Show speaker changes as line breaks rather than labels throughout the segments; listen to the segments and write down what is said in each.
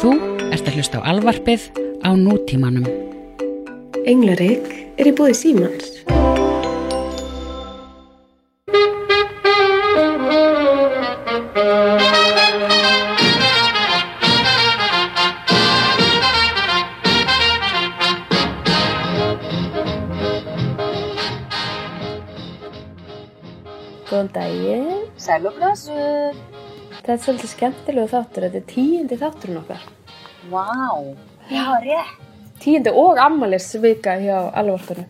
Þú ert að hlusta á alvarpið á nútímanum.
Englarik er í búið símans.
Góðan daginn.
Sæl og blessuð.
Þetta er svolítið skemmtilegu þáttur. Þetta er tíundi þátturinn okkar.
Vá, wow. já, rétt.
Tíundi og ammælisvika hjá alvarpunum.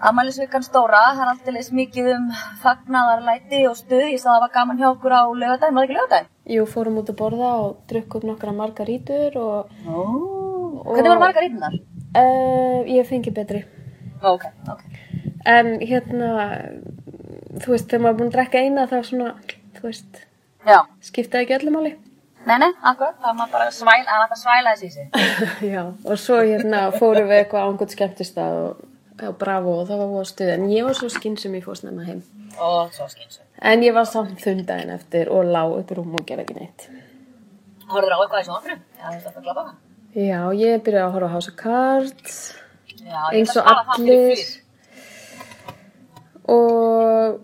Amalisvikan stóra, það er alltaf leys mikið um fagnadarlæti og stuð. Ég sagði að það var gaman hjá okkur á lögadaginn, var það ekki lögadaginn?
Jú, fórum út að borða og drukkum nokkra margarítur og
Ó. Hvernig voru margar ítunar?
uh, ég fengi betri.
Ok, ok.
En hérna, þú veist, þegar maður er búin að drekka eina þá svona, þú veist,
Já,
skiptaði ekki öllu máli.
nei, nei, akkurat, það var bara svæl, það var bara svæla þessi í sig.
Já, og svo hérna fórum við eitthvað á einhvern skemmtistað og, og bravo og það var voða stuð. En ég var svo skinn sem ég fóð snemma heim.
Ó, svo skynnsum.
En ég var samt þundaginn eftir og lág upp í rúm og gerði ekki neitt.
Horður á eitthvað í sjónfrum? Já, það er þetta að glapa það.
Já, ég byrjaði að horfa á House of Cards
Já, ég
eins
ætla
og
að spara það fyrir
allir
fyrir.
og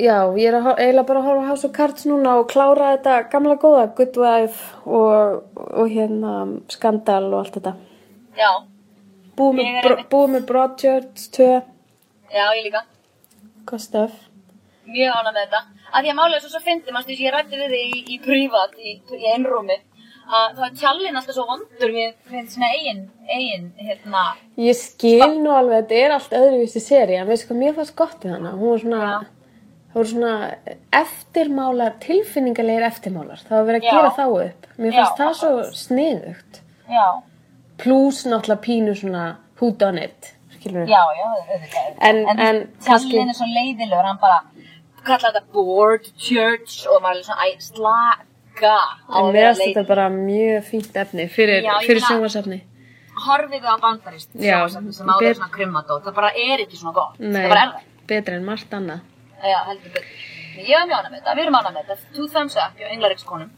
já, ég er að hor- eiginlega bara að horfa á House of Cards núna og klára þetta gamla góða, Good Wife og, og hérna Skandal og allt þetta.
Já,
Búið með,
Ég er
bro,
einmitt-
búið með Broadchurch 2,
já, ég líka.
hvað stöf?
Mjög ánað með þetta. Af því að málega svo svo fyndi, mannstu, ég rætti við þig í, í prívat, í, í einrúmi, að það er tjallinn alltaf svo vondur við, við svona eigin, eigin, hérna,
Ég skil nú alveg að þetta er allt öðruvísi séri, en veistu hvað mér fannst gott við hana? Hún var svona, það voru svona eftirmálar, tilfinningalegir eftirmálar. Það var verið að
Já.
gera þá upp. Mér
Já,
fannst það svo sniðugt.
já,
Plús náttúrulega pínu svona who done it, skilur við?
já, já, auðvitað.
En- en kannski-
tjallinn er svo leiðilegur, hann bara kallar þetta board church og maður er svona, æ, slaka á
En
að
mér
vera
fannst þetta
leiðilegur.
bara mjög fínt efni fyrir,
Já, ég
fyrir
meina-
sjónvarsefni.
Horfið á bandarist,
Já,
sem áður
bet-
svona krummadót, það bara er ekki svona gott,
Nei,
það bara er það.
betra en margt annað.
Já, heldur betur. Ég er mjög ánað með þetta, við erum ánað með þetta, two thumbs up hjá englaríkskonum.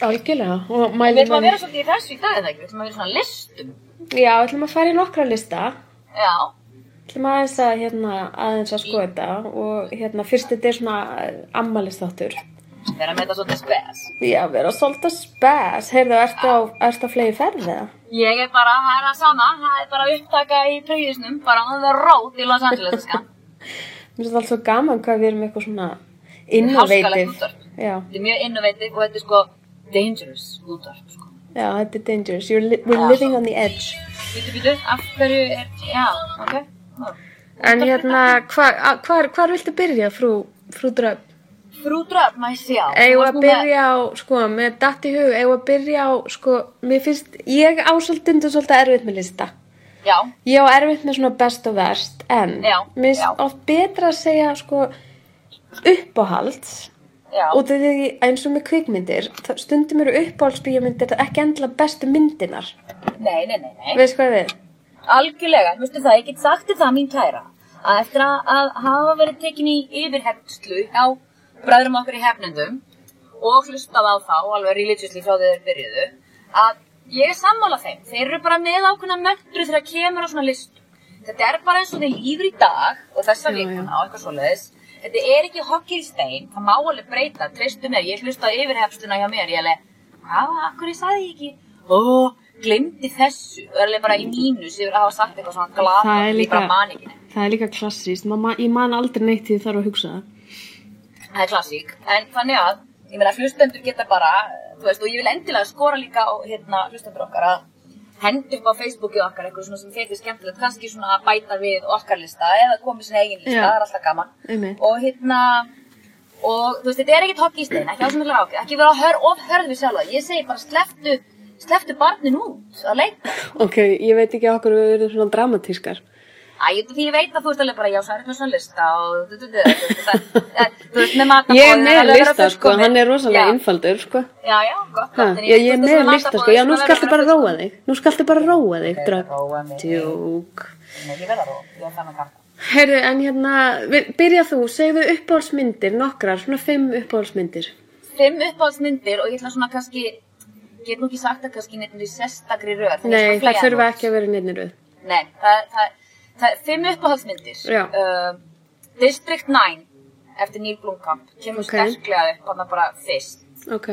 Algjörlega, og
Við
mælum
ætlum að
manni.
vera svolítið í þessu í dag eða ekki, við ætlum að vera svona listum.
Já, ætlum að fara í nokkra lista.
Já,
ætlum aðeins að, hérna, aðeins að skoða þetta og hérna, fyrst þetta er svona ammælisþáttur.
vera með þetta svolítið spes.
Já, vera svolítið spes. Heyrðu, ertu á, ertu á flegi ferð eða?
Ég er bara, það er það sama, það er bara upptaka í príðisnum, bara on the road í Los Angeles, sko. skan.
Mér finnst alltaf svo gaman hvað við erum eitthvað svona innovative.
Háskalegt útvarp.
Já,
Þetta er mjög innovative og þetta er sko dangerous útvarp, sko.
já, þetta er dangerous. You're Li we're
Já.
living on the edge.
Býtu, býtu, af hverju er, já, ok. Ó.
En hérna, hvar, á- hvar, hvar viltu byrja, frú, frú dröf?
Frú dröf, maður sjá.
Eigum
Þú varst
að
nú með-
byrja á, sko, með datt í hug, eigum að byrja á, sko, mér finnst, ég á svolítið, undir svolítið erfitt með lista.
Já,
Ég á erfitt með svona best og verst, en
Já,
mér finnst
já.
oft betra að segja sko uppáhalds
já,
og því eins og með kvikmyndir, þá- stundum eru uppáhaldsbíómyndir ekki endla bestu myndinar.
nei, nei, nei, nei.
Veist hvað ég við?
Algjörlega, veistu það, ég get sagt þér það mín kæra að eftir að, að hafa verið tekin í yfirhefnslu á bræðrum okkur í hefnendum og hlustað á þá, alveg religiously frá þeir byrjuðu að ég er sammála þeim, þeir eru bara með ákveðna möndru þegar kemur á svona list þetta er bara eins og þeir lífur í dag og
Já,
þessa
já.
vikuna og eitthvað svoleiðis þetta er ekki hokkir í stein, það má alveg breyta treystu mér, ég hlustaði á yfirhefnsluna hjá mér ég alveg, hvað, akkur ég sagði ég ekki ó, glemdi þessu og er alveg bara í mínus yfir að hafa sagt eitthvað svona glata,
Það er líka-
bara man ekki neitt.
Það er líka klassíst, man, ég man aldrei neitt því þarf að hugsa það.
það er klassík, en þannig að ég meina hlustendur geta bara þú veist, og ég vil endilega skora líka á hérna, hlustendur okkar að hendi upp á Facebookið okkar eitthvað svona sem þeir þið skemmtilegt kannski svona að bæta við okkar lista eða komið sinna eigin lista,
Já.
það er alltaf gaman
Einmitt.
og hérna og þú veist, þetta er ekkert hokk í stein, ekki á sem vilja ákveð ekki vera hör, of hörð við sjálfa, ég segi bara sleftu, sleftu barnin út að leika
Ok, ég veit ekki okkur við erum svona dramatískar.
Æ, ég- því ég veit að þú ert alveg bara, já, svo er þetta svona lista og du, du, du, du, du, du, en, þú veist, með matabóð.
Ég er með lista sko, hann er rosalega einfaldur sko.
Já, já, gott.
Ha,
gott, en
já, ég er
þú veist,
með
þessi
lista sko,
matarboðið
já, nú
skal
skaltu
vera
bara
fullkomið.
róa þig, nú skaltu bara róa þig, dröf.
róa mig.
Djúk.
Nei, ég verð að róa, ég er þannig að kalla.
Herru, en hérna, vi- byrja þú, segðu uppáhaldsmyndir, nokkrar, svona fimm uppáhaldsmyndir.
Fimm uppáhaldsmyndir og ég ætla svona kannski, get nú ekki sagt það kannski neitt í sérstakri röð. því
Nei,
ég
það
er svo
þurfa
flenur.
ekki að vera neinnir við.
Nei, það, það, það er fimm uppáhaldsmyndir.
Já.
Uh, District 9 eftir Neil Blomkamp kemur
Ok.
sterklega upp hann bara fyrst.
Ok,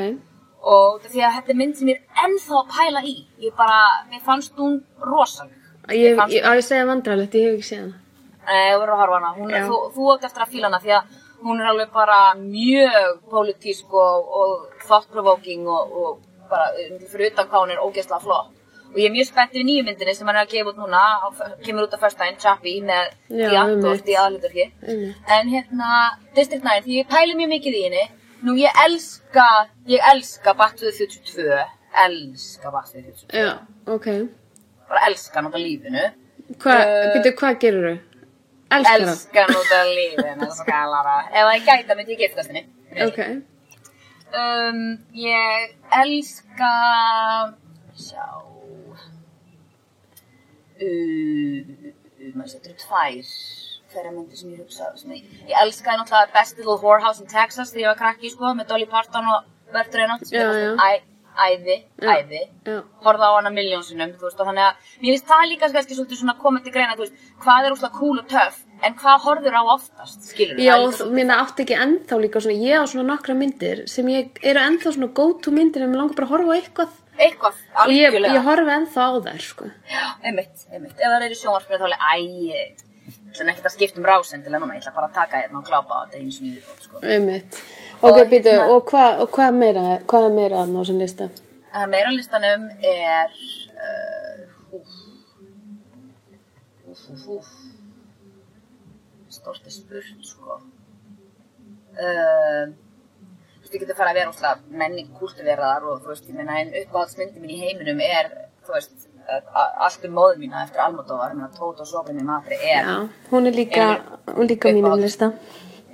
Og út af því að þetta er mynd sem ég er ennþá að pæla í. Ég bara, mér fannst hún rosaleg.
ég,
fannst-
ég, á ég að segja vandrarlegt, ég hef ekki séð hana.
Nei, þú Eh, verður að horfa á hana. Hún,
Já.
þú, þú átt eftir að fíla hana því að hún er alveg bara mjög pólitísk og, og thought-provoking og, og bara um, fyrir utan hvað hún er ógeðslega flott. Og ég er mjög spennt við nýju myndinni sem hann er að gefa út núna, á- kemur út af föstudaginn, Chappie, með
Já,
Diantótt
einmitt.
í aðlutur hér.
Einmitt.
En hérna, District 9, því ég pæli mjög mikið í henni. Nú, ég elska, ég elska Back to the Future 2, elska Back to the Future 2,
Já, ok.
bara elska hann út af lífinu.
Hva,
Eh,
Býtu, hvað gerur þau? Elskar það?
Elskan út af lífinu, skalara. Ef það gæta myndi ég giftast henni.
Ok,
Um, ég elska... Sjá... Uh, maður setur tvær þeirra myndir sem ég hugsa sem ég, ég elskaði náttúrulega Best Little Whorehouse in Texas þegar ég var krakki sko með Dolly Parton og Bert Reynolds sem
Já,
ég
já.
fannst æði,
Já.
æði
já.
horfa á hana miljónsinnum, þú veist, og þannig að mér finnst það líka kannski svolítið svona komið til greina, þú veist, hvað er úrslega cool og töff, en hvað horfir á oftast, skilur
Já, og þú- minna átti ekki ennþá líka svona, ég á svona nokkra myndir sem ég eru ennþá svona go to myndir en mér langar bara að horfa á eitthvað
eitthvað,
og ég,
algjörlega,
ég horfa ennþá á þær, sko.
einmitt, einmitt, ef það eru sjónvarpinu þá er ég, æ, ég ætla nú ekkert að skipta um rásendilega núna, ég ætla bara að taka hérna og glápa á þetta eins og nýður, sko.
Einmitt. Ok,
Og
býtu,
hérna-
og hvað og hvað meira, hvað er meira að ná sem lista?
Það meira á listanum er, uh, úf, úf, úf, úf, stort er spurt, sko. Um, þú veist, ég getur farið að vera úrslega menning kultverðar og þú veist, ég meina, en uppáhaldsmyndi mín í heiminum er, þú veist, uh, a- allt um móðu mína eftir Almodóvar, ég meina, Tóta og Sopin í matri er,
Já, hún er líka, hún er líka á mínum
Uppáhalds.
lista.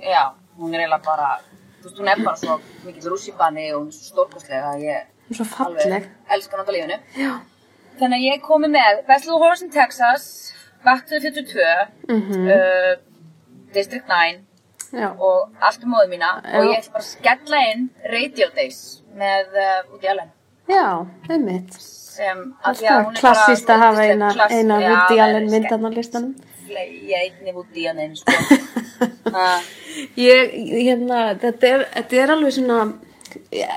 já. hún er eiginlega bara, þú veist, hún er bara svo mikill rússipanni og hún er svo stórkostlega að ég
Hún er svo falleg.
alveg elska hann á lífinu. Já. Þannig að ég komi með Best Little Horse in Texas, Back to the 42, uh, District 9
Mhm. Já,
og allt um móðu mína
Já.
og ég ætla bara að skella inn Radio Days með uh, út í alveg
já, einmitt.
sem af því
Alltaf
að hún er bara
klassist að hafa
ógeðsleg
eina,
klass-
eina
Já,
Woody
það er
Allen myndan á listanum.
skemmtileg, ég einni Woody Allen sko. uh,
Ég, hérna, þetta er, þetta er alveg svona,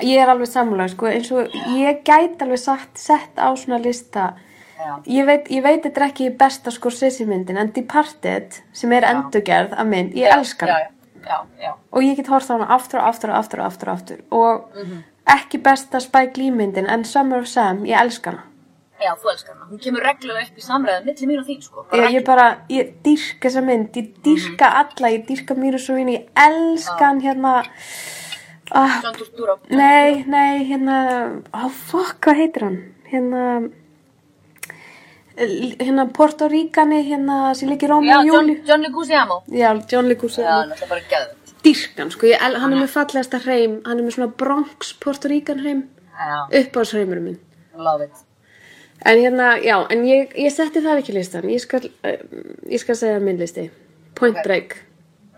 ég er alveg samlega, sko, eins og ég gæti alveg sagt, sett á svona lista.
já,
Ég veit, ég veit þetta er ekki besta sko myndin, en Departed, sem er endurgerð að mynd, ég elskar
já,
hana.
já, já, já,
Og ég get hort á hana aftur og aftur og aftur og aftur og aftur. Og
Mhm.
ekki besta Spike Lee myndin, en Summer of Sam, ég elskar hana.
já, þú elskar hana hún kemur reglulega upp í samræðan milli mín og Mhm. þín sko,
Ég, ég
reglulega.
bara, ég dýrka þessa mynd, ég dýrka alla, ég dýrka Mýru Svínu, ég elska hann hérna, ah,
John Turturro
Nei, nei, hérna, á fokk, hvað heitir hann? Hérna, l- hérna Porto Ríkani, hérna, sem leikir Rómi
Já,
og
John,
Júli.
John Leguizamo
Já, John Leguizamo.
Já, hann ætla bara að geða
Dýrkan, sko, ég, el- hann er með fallegasta hreim, hann er með svona Bronx Porto Ríkan hreim,
Já,
uppáðsreimur minn.
love it
En hérna, já, en ég, ég setti það ekki í listan, ég skal, um, ég skal segja minn listi. Point
Ok.
Break,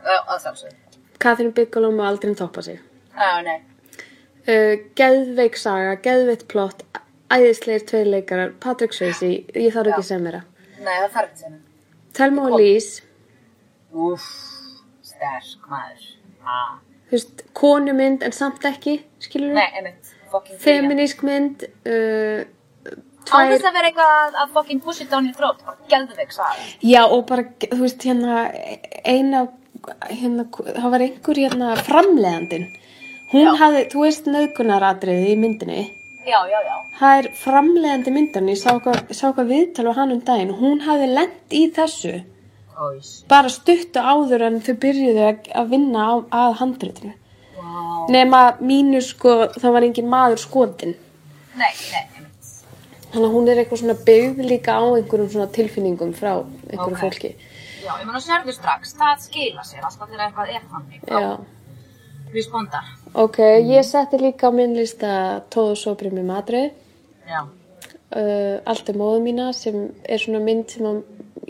Já, að sjálfsög
Catherine Bigelow má aldrei toppa sig.
Já, nei
uh, geðveik saga, geðveitt plott æðisleir tveir leikarar Patrick Swayze, ég þarf ekki
Já.
að segja meira
Nei, það þarf ekki sem
Telma og Lís,
Úff, sterk maður ah.
þú veist, konumynd en samt ekki, skilur
Nei,
við
einmitt, fucking brilliant.
feminísk mynd uh,
Án
tvær,
þess að vera eitthvað að- að fucking push it down your throat Bara geðveik sagði
já og bara þú veist, hérna eina hérna, það var einhver hérna framleiðandin hún hafði, þú veist nöðgunaratriði í myndinni
Já, já, já
Það er framleiðandi myndan, ég sá hvað, sá hvað viðtal á hann um daginn, hún hafði lent í þessu
Kóis
bara stuttu áður en þau byrjuðu að, að vinna á, að handritinu.
Wow
Nefn að mínu sko, það var engin maður skotin.
Nei, nei, einmitt
Þannig að hún er eitthvað svona byggð líka á einhverjum svona tilfinningum frá einhverju
Ok.
fólki.
Já, ég meina sérðu strax, það skila sér alltaf þegar eitthvað er þannig
Já.
Respondar
Ok, ég setti líka á minn lista Tóðu sopri með matri.
Já
Uh, allt er móðu mína sem er svona mynd sem að,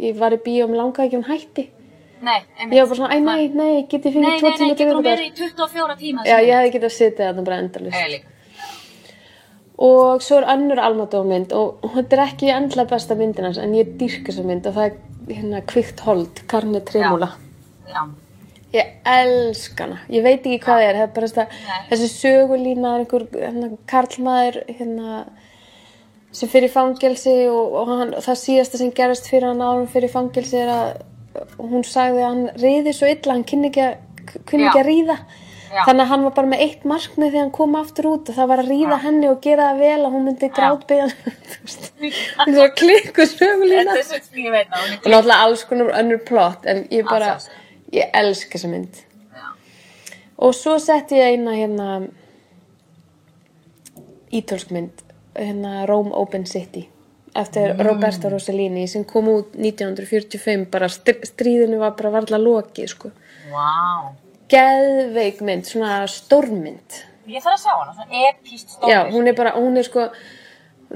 ég var í bíó um langaði ekki hún hætti.
Nei, einmitt
Ég var bara svona, æ, nei, nei, get ég
Nei,
fengið tvo tíma
nei, nei,
til
getur hún
viðbótar?"
verið í 24 tíma
Já, ég hefði getað að setja þetta bara endalist.
Ég líka
og svo er önnur almadómynd og þetta er ekki endla besta myndin hans en ég dýrk þessa mynd og það er hérna kvikt hold, Karne Tremula
já,
ég elska hana, ég veit ekki hvað það er, það er bara þetta, þessi sögulína er einhver hérna, karlmaður hérna, sem fyrir fangelsi og, og hann, það síðasta sem gerast fyrir hann árum fyrir fangelsi er að hún sagði að hann riði svo illa, hann kynni ekki að, kynni ekki
Já.
að ríða
Já.
þannig að hann var bara með eitt markmið þegar hann kom aftur út og það var að ríða henni og gera það vel að hún myndi grátbyggja hann svo klikku sögulína
þetta er svo sem ég veit að hún
og náttúrulega alls konar önnur plott en ég bara,
Alls,
ég elska þessa mynd og svo setti ég eina hérna ítölsk mynd hérna Rome Open City eftir Roberta Rossellini sem kom út 1945 bara str stríðinu var bara varla lokið sko
er wow.
geðveik mynd, svona stórmynd
ég þarf að sjá hana, svona epíst stóri
já, hún er bara, hún er sko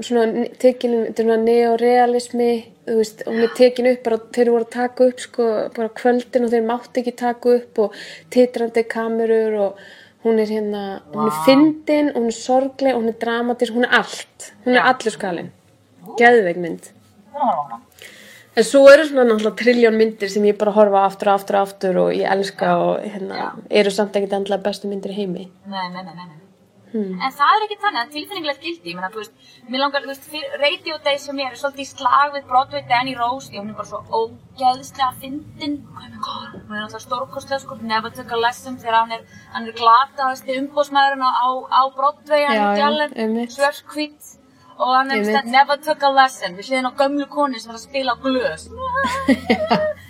svona tekin, um, þetta er svona neorealismi þú veist, hún er tekin upp bara þeir voru að taka upp sko bara kvöldin og þeir mátti ekki taka upp og titrandi kamerur og hún er hérna, hún er fyndin hún er sorgleg, hún er dramatisk, hún er allt hún er allur skalinn geðveik mynd En svo eru svona náttúrulega trilljón myndir sem ég bara horfa á aftur og aftur og aftur og ég elska og hérna, eru samt ekkert endla bestu myndir í heimi.
Nei, nei, nei, nei, nei.
Hmm.
En það er ekki þannig að tilfinninglega gildi, ég meina, þú veist, mér langar, þú veist, fyrir Radio Day sem ég er svolítið í slag við Broadway Danny Rose, ég hún er bara svo ógeðslega fyndin, oh my god, hún er alltaf stórkostlega, sko, never took a lesson þegar hann er, hann er glataðasti umbóðsmaðurinn á, á Broadway, hann
Já,
er
já,
Jalen,
einmitt.
svörskvít, og hann er
Einmitt.
stand, never took a lesson, við hliðin á gömlu konu sem er að spila á glös.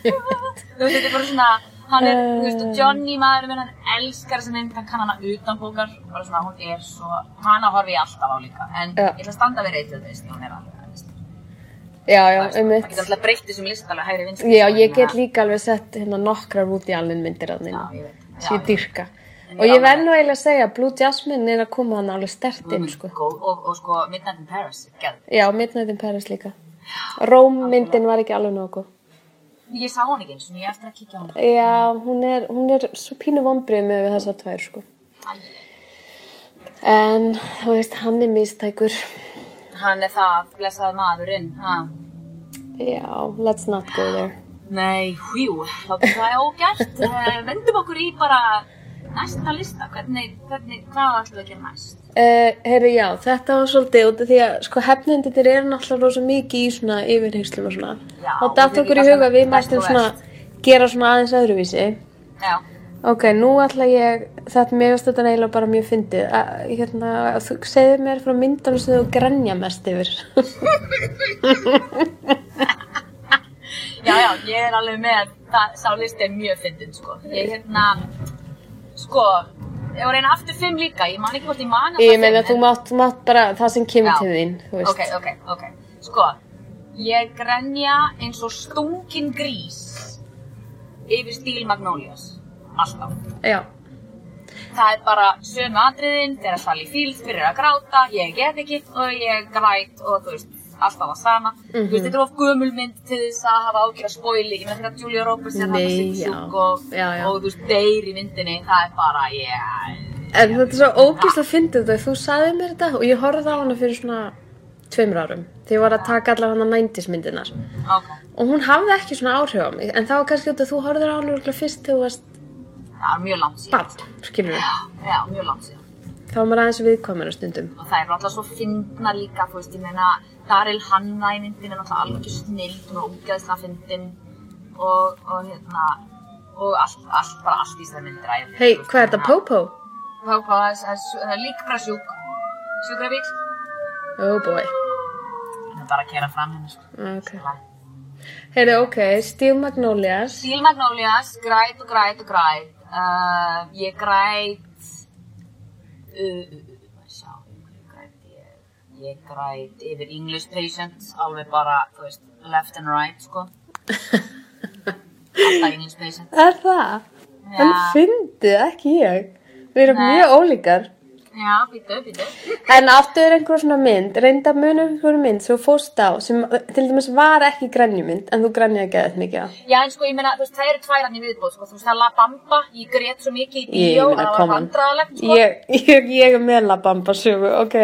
þú veist, þetta er bara svona, hann er, þú veist,
Eh.
og Johnny maðurinn minn, hann elskar þessa mynd, hann kann hana utanbókar, bara svona, hún er svo, hana horfi ég alltaf á líka, en
Já.
ég ætla að standa við reytið þess, hún er alveg, þú veist,
Já, já,
það
um
er ekki alltaf breytt þessum listalega hægri vinstri.
Já, ég get líka alveg sett hérna nokkrar út í alveg myndir að
Já,
neina,
ég veit.
sem ég dyrka.
En
Og
ég
ég
ánægð.
verð nú eiginlega að segja að Blue Jasmine er að koma hann alveg stert inn, sko.
Og, og, og sko, Midnight in Paris, geð.
Já, Midnight in Paris líka. Róm myndin var ekki alveg nógu.
Ég sá hann ekki eins og ég á eftir að kíkja á hann.
Já,
Mm.
hún er, hún er svo pínu vonbrið með við þessa tvær, sko. En, þú veist, hann er mistækur.
Hann er það, blessaði maðurinn, ha?
Já, let's not go there.
Nei, hjú, látum það ógert. Eh, Vendum okkur í bara næsta lista, hvernig, hvernig, hvað ætlum við að gera næst?
Uh, Herri, já, þetta var svolítið út af því að sko hefnendinir eru náttúrulega rosa mikið í svona yfirheyslum og svona.
Já,
og datt
þetta er
okkur í
líka
huga að við
svona best
mættum
og
svona gera svona aðeins öðruvísi.
Já,
Ok, nú ætla ég, þetta mér finnst þetta eiginlega bara mjög fyndið. að, Hérna, að þú segðu mér frá myndanum sem þú grenja mest yfir.
já, já, ég er alveg með það, sá listi er mjög fyndin, sko. Ég hérna, sko, ég var reyna aftur fimm líka, ég man ekki hvort ég man
ég meina þú mátt, þú mátt bara það sem kemur til þín, þú veist.
Ok, ok, ok. Sko, ég grenja eins og stungin grís yfir stíl Magnolias, alltaf.
Já,
Það er bara sömu atriðin, þegar Sally Fields fyrir að gráta, ég get ekki og ég græt og þú veist, alltaf að sama. Þú
Mhm.
veist, þetta er of gömul mynd til þess að hafa ágjör að spoili, ég með þetta Julia Roberts er hann
Nei,
sig
já.
sjúk og,
Já, já.
og þú veist, deyr í myndinni, það er bara, ég,
en þetta er svo ógeðslega fyndið þegar þú sagði mér þetta og ég horfði á hana fyrir svona tveimur árum. Þegar ég var að taka allar hana 90s myndinar.
ok,
og hún hafði ekki svona áhrif á mig en það var kannski út að þú horfður á hann örugglega fyrst þegar þú varst
það er mjög langt síðan.
barn, skilur við
Já, mjög langt síðan.
þá var maður aðeins viðkvæmur á stundum
og það er alltaf svo fyndna líka þú veist, ég meina, Daryl Hanna í myndin er náttúrulega algjör snillt hún er ógeðslega fyndin og, og hérna og allt, allt, bara allt í þessari myndir æði
hei, hvað er þetta, Popo?
Pópá, það er- það er líka bara sjúk sjúkrabíl
oh boy,
það er bara að kera fram henni sko
Ah, ok heyrðu, ok, Steve Magnolias
Síl Magnólias, græt og græt og græt uh, ég græt uh, uh, uh, að sjá, ég græt ég, ég græt yfir English Patient alveg bara, þú veist, left and right sko alltaf English Patient
er það? hann fyndið, ekki ég við erum
Nei.
mjög ólíkar
Já, býtu, býtu.
En aftur einhver svona mynd, reynda munum einhver mynd sem þú fórst á, sem uh, til dæmis var ekki grænjumynd, en þú grænjaði ekki þetta mikið á.
Já, en sko, ég meina, þú veist, það eru tvær hann í viðbóð, sko, þú veist, það er La Bamba, ég grét svo mikið í
Ég
bíó,
meina,
það var
come on.
vandræðalegt, sko.
Ég, ég, ég er með labamba sögu, ok.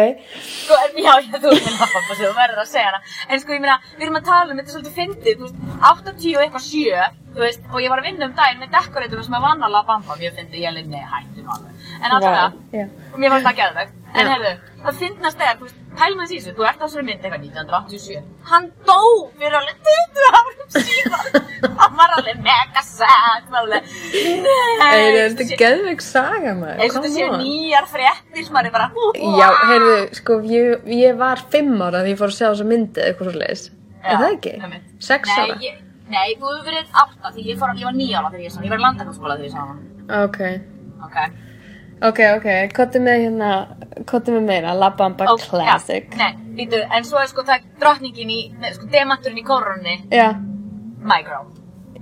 Sko, en, já, já, þú veist, La Bamba, svo þú verður að segja hana. En sko, ég meina, við erum að tala um, þetta er svolítið fyndið, þú veist, 80 og eitthvað 7, þú veist, og ég var að vinna um daginn með dekoratum sem að vanna La Bamba, mjög fyndið, ég linni, hættu nú alveg. En alltaf,
Já.
og mér fannst það gerðvegt. En
Já.
hefðu, það fyndnast er, þú veist, pælum þessi þessu, þú ert á þessari mynd eitthvað 1987. Hann dó fyrir alveg 20 árum síðan. Hann var alveg mega sad, alveg.
Hey,
Nei,
þetta er geðveik saga maður,
eins og þetta séu nýjar fréttir sem maður er bara hú, hú,
Já,
ah.
heyrðu, sko, ég, ég var fimm ára því ég fór að sjá þessa myndi eða eitthvað svo leiðis.
Já,
Er það ekki?
einmitt.
Sex
Nei,
ára?
ég- Nei, þú hefur verið átta því ég, fór, ég var nýja ára þegar ég sá hann. Ég var í landakarskóla þegar ég sá hann.
Ok,
Ok.
ok, ok, kottu með hérna, kottu með meira, labamba
Og-
classic.
Já, nei, lítur, en svo er sko það drottningin í, nei, sko demanturinn í korunni,
Já,
my girl.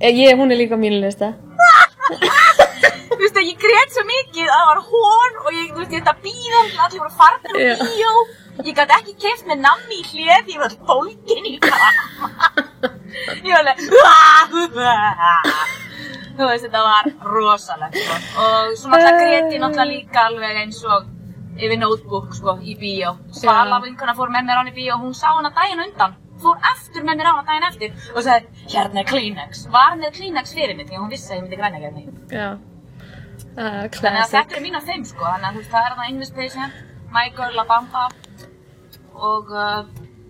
Eh, ég, hún er líka á mínu lista.
Þú veist að ég grét svo mikið að það var hón og ég, þú veist, ég þetta bíða, allir voru farnir
Já.
og bíó. Ég gæti ekki keft með nammi í hliði, ég var öll bólgin í það. Ég var alveg, þú veist, þetta var rosalegt, sko. Og svo náttúrulega grét ég náttúrulega líka alveg eins og yfir notebook, sko, í bíó. Svala vinkona fór með mér á hann í bíó og hún sá hana daginn á undan. Fór aftur með mér á hana daginn eftir og sagði, hérna er Kleenex. Var hann er Kleenex fyrir mig, því að hún vissi að ég myndi græna gerð mig.
Já, uh,
Þannig að
classic.
þetta eru mín af þeim sko, þannig að þú veist það er það English Patient, My Girl, La Bamba og, uh,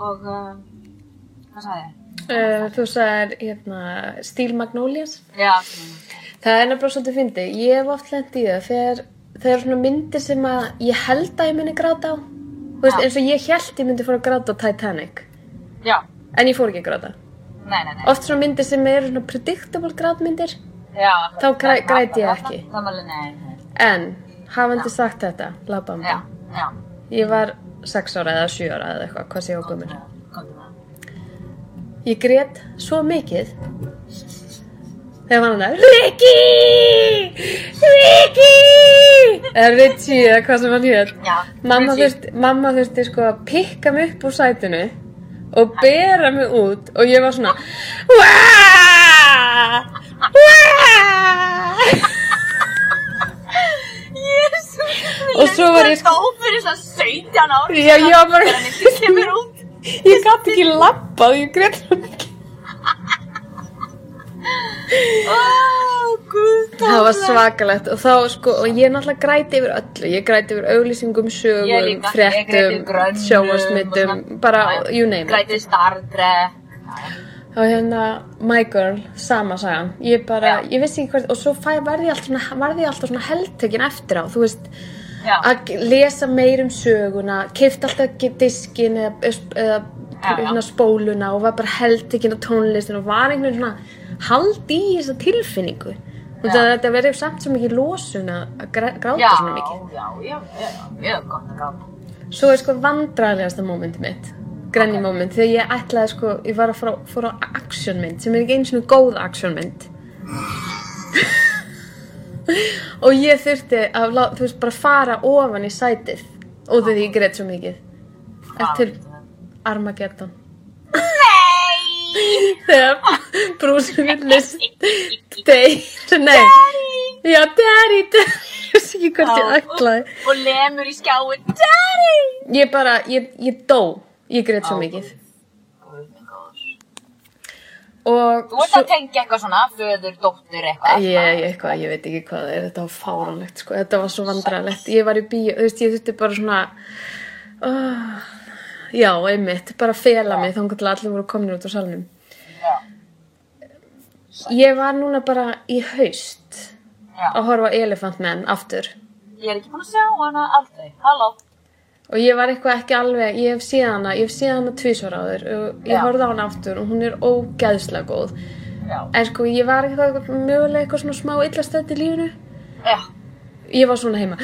og, uh, hvað sagði ég?
Uh, þú sagðir, hérna, Steel Magnolias.
Já,
Það er nefnilega svolítið fyndi. Ég hef oft lent í það þegar það eru svona myndir sem að ég held að ég myndi gráta á. Þú veist,
Já.
eins og ég held ég myndi fara að gráta á Titanic.
já,
En ég fór ekki að gráta.
nei, nei, nei.
Oft svona myndir sem eru svona predictable grátmyndir.
já, akkurat.
Þá græ- græt ég
Þarna-
ekki.
þarna- þarna- nei, nei,
En, hafandi sagt þetta, labamba.
já, já,
Ég var 6 ára eða 7 ára eða eitthvað, hvað sé ég á gömur.
komdu með.
Ég grét svo mikið þegar var hann að Rikki! Rikki! Eða Ritchie eða hvað sem hann hér.
Já,
Mamma
Ritchie.
þurfti, mamma þurfti sko að pikka mig upp úr sætinu og bera mig út og ég var svona Waaah! Waaah!
Jésus,
Og svo var ég
sko. Dó fyrir svona 17 ári.
Já, ég var bara-
Þannig að ég kemur út.
Ég gæti ekki labbað, ég grét svo mikið.
Ó, guð,
Það var svakalegt og þá sko, og ég náttúrulega græti yfir öllu, ég græti yfir auglýsingum,
Ég
sögum,
líka, ég græti
fréttum,
grönnum og
sjóasmittum,
svona.
bara,
Já,
you name it.
Græti startre
Og hérna, My Girl, sama sagan. Ég bara,
Já.
ég vissi ekki hvert, og svo fæ, varði ég alltaf svona, varði ég alltaf svona heldtökin eftir á, þú veist,
Já,
að lesa meir um söguna, kifti alltaf ekki diskin eða, eða
Já, já.
hérna, spóluna og var bara heldtökin á tónlistin og var einhvern veginn svona hald í þessa tilfinningu. Og
Já.
það, þetta verður samt svo mikið losun að að grá- gráta
já,
svona mikið.
já, já, já, já, mjög gott að gáta.
Svo er sko vandræðilegasta móment mitt grenni okay. móment, þegar ég ætlaði sko ég var að fara á- fór á actionmynd sem er ekki eins og góð actionmynd og ég þurfti að lá- þú veist bara fara ofan í sætið og því ég greit svo mikið eftir Armageddon
Nei!
þegar brúsum villis deyr, nei já, daddy, daddy ég veist ekki hvort ég ætlaði
Og, og lemur í skjáin, daddy!
ég bara, ég, ég dó ég greit svo mikið
Guð minn góður.
og
Þú ert að tengja eitthvað svona, föður, dóttur, eitthvað.
Ég, ég, eitthvað, ég veit ekki hvað það er, þetta var fáranlegt sko, þetta var svo vandrarlegt, ég var í bíó, þú veist, ég þurfti bara svona, oh, já, einmitt, bara fela mig þannig að allir voru komin út á salnum.
Já,
Ég var núna bara í haust
já.
að horfa á Elephant Man aftur
Ég er ekki búin að sjá hana aldrei, halló.
og ég var eitthvað ekki alveg, ég hef séð hana, ég hef séð hana tvísvar áður og ég
Já.
horfði á hana aftur og hún er ógeðslega góð.
Já,
En sko, ég var eitthvað mögulega eitthvað svona smá illastætt í lífinu.
já,
Ég var svona heima.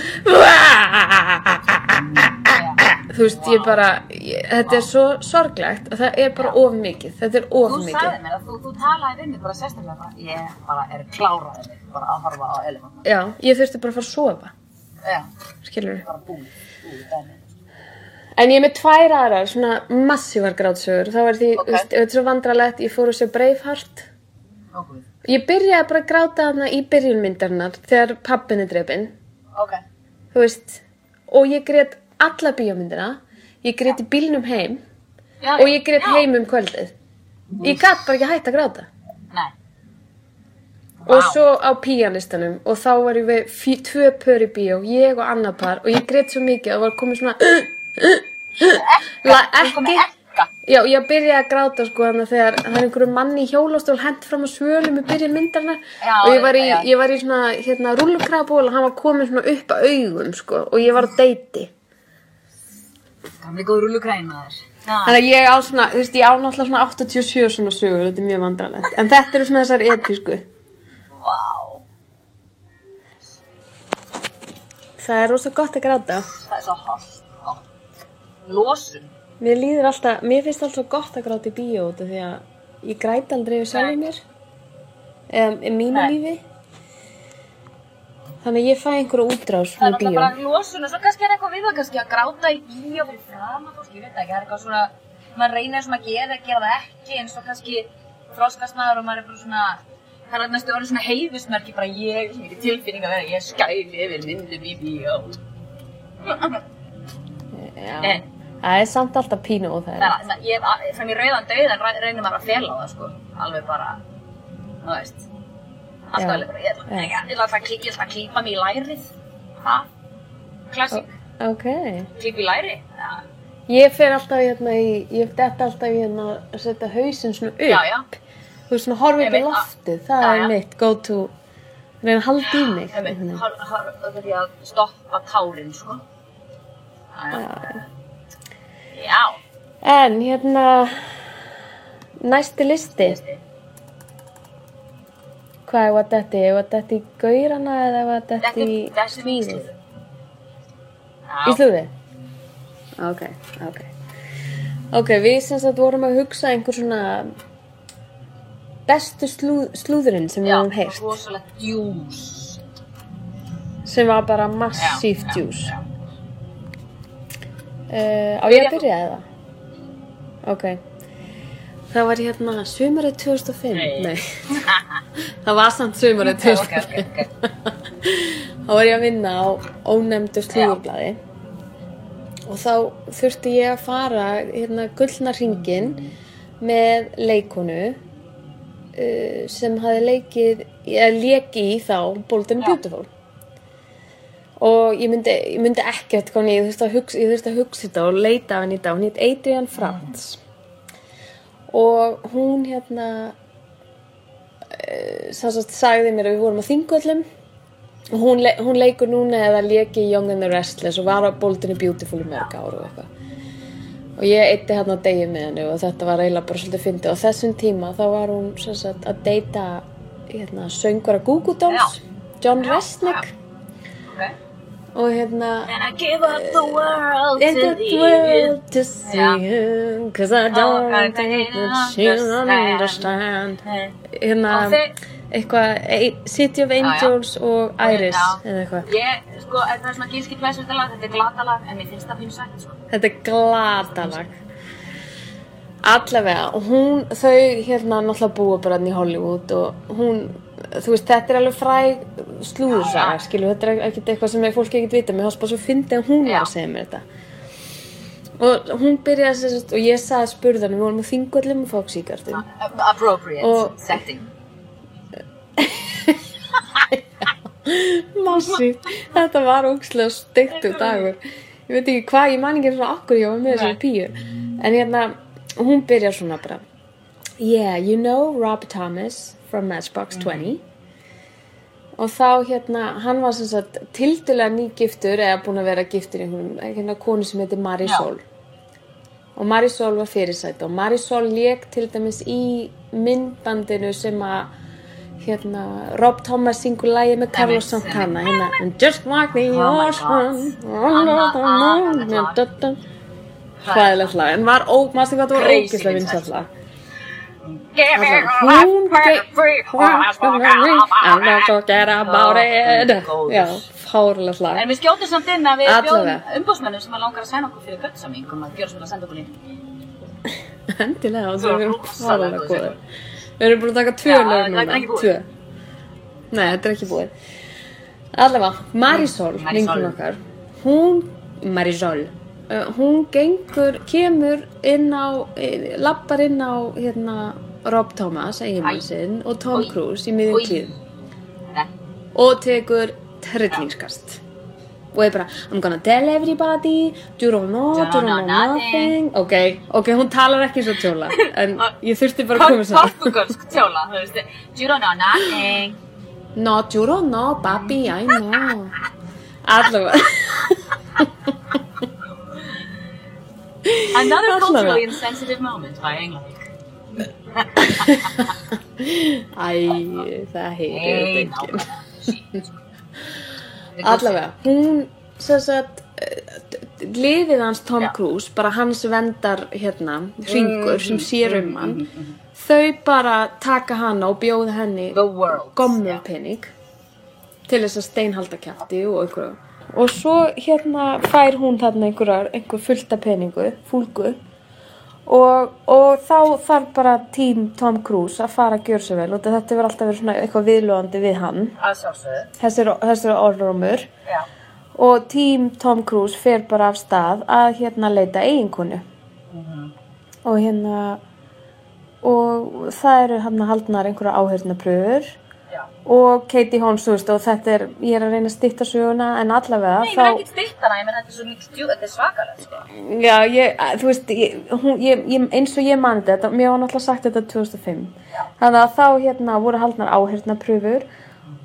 já.
þú veist, ég bara, ég, þetta er svo sorglegt að það er bara of mikið, þetta er of
Þú sagði
mikið.
mér að þú, þú talaði við mig bara sérstaklega bara, ég bara er kláraðið mig bara að horfa á elefant.
Já, ég þurfti bara að fara að sofa.
já,
skilur
bara búið, búið dæmi.
En ég er með tvær aðrar, svona massívar grátsögur. Þá er því,
Ok.
okay. veist, þetta er svo vandralegt, ég fór og sé Braveheart.
Ó, guð.
Ég byrjaði bara að gráta þarna í byrjunmyndarnar þegar pappin er drefin.
Ok,
Þú veist, og ég grét alla bíómyndina. Ég grét í bílnum heim
já,
og ég grét
já.
heim um kvöldið. Ég gat bara ekki hægt að gráta.
Nei,
Og svo á píanistanum og þá varum við fí- tvö pör í bíó, ég og annað par og ég grét svo mikið og var komið svona La,
þú komið
ekki,
ekka.
já ég byrjaði að gráta sko þannig að þegar það er einhverju manni í hjólastól hent fram á svölum í byrjun myndarna
Já,
og ég var, í,
já.
ég var í svona hérna rúllukraból og hann var komið svona upp að augum sko og ég var á deiti
Gamli góð rúlugræn maður. Já,
þannig að ég á svona, þú veist ég á náttúrulega svona 87 svona sögur, þetta er mjög vandralegt en þetta eru svona þessar episku
vá,
það er rosa gott að gráta
það er svo hálf. Lósun.
Mér líður alltaf, mér finnst alltaf gott að gráta í bíó út af því að ég græt aldrei við sjálfum mér eða í mínu
Nei.
lífi Þannig að ég fæ einhverja útrás
Það er
frá
náttúrulega
bíó
bara lósun og svo kannski er eitthvað við það kannski að gráta í bíó fyrir fram að fólk, ég veit það ekki, það er eitthvað svona, maður reynir svona að gera, gera það ekki en svo kannski þroskast maður og maður er bara svona, það er næstu orðið svona heiðusmerki, bara ég, sem ekki tilfinning að vera, ég skæli yfir myndum í bíó.
Já.
En
Það er samt alltaf pínu og það
það
er
er, það, ég, fram í rauðan dauðan ræ- reynir maður að fela það sko, alveg bara, þú veist, alltaf
Já.
alveg bara, ég ætla-
Já.
ég ætla ég ætla að klí- ég ætla að klípa mig í lærið, ha? Klassík,
Ok
klípa í læri, já.
Ég fer alltaf hérna í, ég detta alltaf í hérna að setja hausinn svona upp
Já, já.
Þú veist svona horfa upp í
Einmitt, að-
loftið, það
Já,
er
já.
mitt go to reyna að halda í mig
Einmitt,
einhvern veginn.
har- har- Það þarf ég að stoppa tárin, sko. Já, já. Já,
En hérna næsti listi
veistu.
Hvað var þetta? Var þetta í gaurana eða var þetta
Þetta
í
er- þessi er
svíðið?
íslúður.
Í
Já,
slúðið? Ok, ok. Ok, við sem sagt vorum að hugsa einhver svona bestu slú, slúðurinn sem við
já,
höfum heyrt.
rosalega djús.
Sem var bara
Já,
massíft
já,
djús.
já.
Uh, á ég
Byrja
að
þú.
byrja eða? Ok. Það var hérna sumarið 2005.
Nei.
Nei. Það var samt sumarið 2005.
Ok, ok, ok.
þá var ég að vinna á ónefndu slúðurblaði og þá þurfti ég að fara hérna gullna ringin með leikonu uh, sem hafi leikið eða leki í þá Bold and Beautiful og ég myndi, ég myndi ekkert koni, ég þurfti að hugsa, ég þurfti að hugsa þetta og leita af henni í dag, hún hétt Adrian Frantz og hún hérna uh, sannsagt sagði mér að við vorum á þingvöllum Og hún, le hún leikur núna eða leki í Young and the Restless og var á Boldinu Beautiful í mörg ár og eitthvað og ég eitti hérna að degi með henni og þetta var eiginlega bara svolítið fyndið og á þessum tíma þá var hún sem sagt, að deyta hérna, söngvara Google Dolls John Resnick
ok.
og hérna
And I give up the world
In
to
the
thee.
world to see
Já.
you Cause I don't
I
think that
don't
you understand
understand.
hérna
Og þið-
eitthvað e- City of Angels og Iris
Já.
eða eitthvað
Ég, sko, ef það er svona gilski plæsvölda lag, þetta er glata lag, en mér finnst það pínu sætt, sko.
Þetta er glatalag. Allavega, og hún, þau hérna náttúrulega búa bara hann í Hollywood og hún, þú veist, þetta er alveg fræg slúðursaga, skilu, þetta er ekkert eitthvað sem fólk ekkert vita, mér hans bara svo fyndi að hún var að
Já.
segja mér þetta. Og hún byrjaði sér, og ég sagði spurðanum, við vorum á þingvöllum og fóksíkartum.
Appropriate
Og-
setting.
Massi, þetta var ógslag steiktur dagur. Ég veit ekki hvað, ég man ekki svona okkur ég var með þessari píu. En hérna, hún byrjar svona bara. Yeah, you know Rob Thomas from
Mhm.
Matchbox 20. Og þá hérna, hann var sem sagt tildulega nýgiftur eða búin að vera giftur í hún, hérna konu sem heitir Marisol. Og Marisol var fyrirsætt og Marisol lék til dæmis í myndbandinu sem að hérna, Rob Thomas syngur lægi með Carlos
Einmitt,
Santana hérna, And just like the
Oh my
ocean
God.
under the
Annað-
moon
annað lag.
da, da. Hræðilegt lag, en var ó, maður sem hvað það var
Crazy
ógislega
vinsælt.
vinsætt lag
Give me
Allavega,
life,
hún
free,
ge-
free,
I'm not gonna get about it
Ó,
Já,
góður.
fárlega slag.
En við skjótum samt inn að við
Allavega.
bjóðum umbósmennum sem að langar að sæna okkur fyrir göttsaming um að gjöra svona að senda okkur línu.
Endilega, og
Það
það
var
er
rosalega
fárlega
góð
góður. Við erum búin að taka tvö
Já,
lög
þetta er
núna.
ekki búið.
Tvö. Nei, þetta er ekki búið. Allavega, Marisol,
Marisol.
vinkun okkar, hún, Marisol, uh, hún gengur, kemur inn á, eh, lappar inn á, hérna, Rob Thomas,
Æ.
eiginmann sinn, og Tom
Oj.
Cruise í miðjum
Oj.
klíðum
Nei.
og tekur trillingskast og er bara I'm gonna tell everybody you don't know, you don't know nothing ok, ok, hún talar ekki svo tjóla en ég þurfti bara að koma sér
Portugalsk tjóla, þú veist. You don't know nothing.
not you don't know, baby, I know allavega
Another
Allavega.
culturally insensitive moment by England.
æ, það heitir þetta
Hey,
ekki
nákvæmlega. Shit.
allavega, hún sem sagt eh, liðið hans Tom
Já.
Cruise bara hans vendar hérna hringur sem sér um hann þau bara taka hana og bjóða henni
The world.
gommum pening til þess að steinhalda kæfti og einhverju og svo hérna fær hún þarna einhverjar einhver fullta peningu, fúlgu og, og þá þarf bara tím Tom Cruise að fara að gjöra sér vel og þetta hefur alltaf verið svona eitthvað viðlóðandi við hann
Að sjálfsögðu.
þessir, þessir orðrómur
Já.
og tím Tom Cruise fer bara af stað að hérna leita eiginkonu
Mhm.
og hérna og það eru hann að haldnar einhverja áhörnapröfur
Já.
og Katie Holmes, þú veist, og þetta er ég er að reyna að stýtta söguna en allavega
Nei, ég er ekkert styrtana, ég menn þetta er svo mikil djú, þetta er svakalegt, sko.
já, ég, að, þú veist ég, hún, ég, ég, eins og ég mani þetta, mér var náttúrulega sagt þetta 2005 þannig að þá hérna voru haldnar áhörnapröfur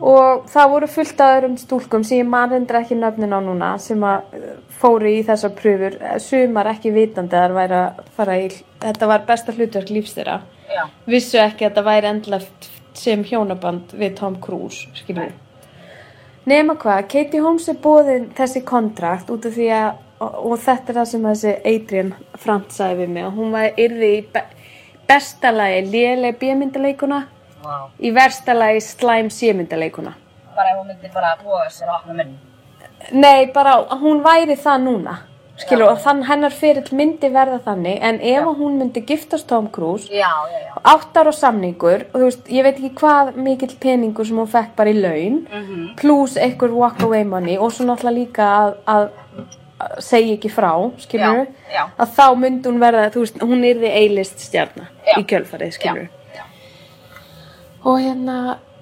og það voru fullt af öðrum stúlkum sem ég man reyndar ekki nöfnin á núna sem að eh, fóru í þessar pröfur eh, sumar ekki vitandi að þær væri að fara í, þetta var besta hlutverk lífs þeirra
Já.
vissu ekki að það væri endilegt sem hjónaband við Tom Cruise, skilur við. Nema hvað, Katie Holmes er bóðin þessi kontrakt út af því að, og, og þetta er það sem þessi Adrian Frant sagði við mig, að hún var yrði í be, besta lagi léleg bímyndaleikuna,
Vá.
í versta lagi slæm símyndaleikuna.
Bara ef hún myndi bara búa sér að opna munn.
Nei, bara að hún væri það núna, skilur, og þann hennar fyrill myndi verða þannig, en ef að hún myndi giftast Tom Cruise,
Já, já, já.
áttar og samningur og þú veist, ég veit ekki hvað mikill peningur sem hún fekk bara í laun
Mhm.
pluss einhver walk away money og svo náttúrulega líka að, að, að segja ekki frá, skilur
Já, já.
að þá myndi hún verða, þú veist, hún yrði eilist stjarna
Já.
í kjölfarið, skilur
Já, já.
og hérna,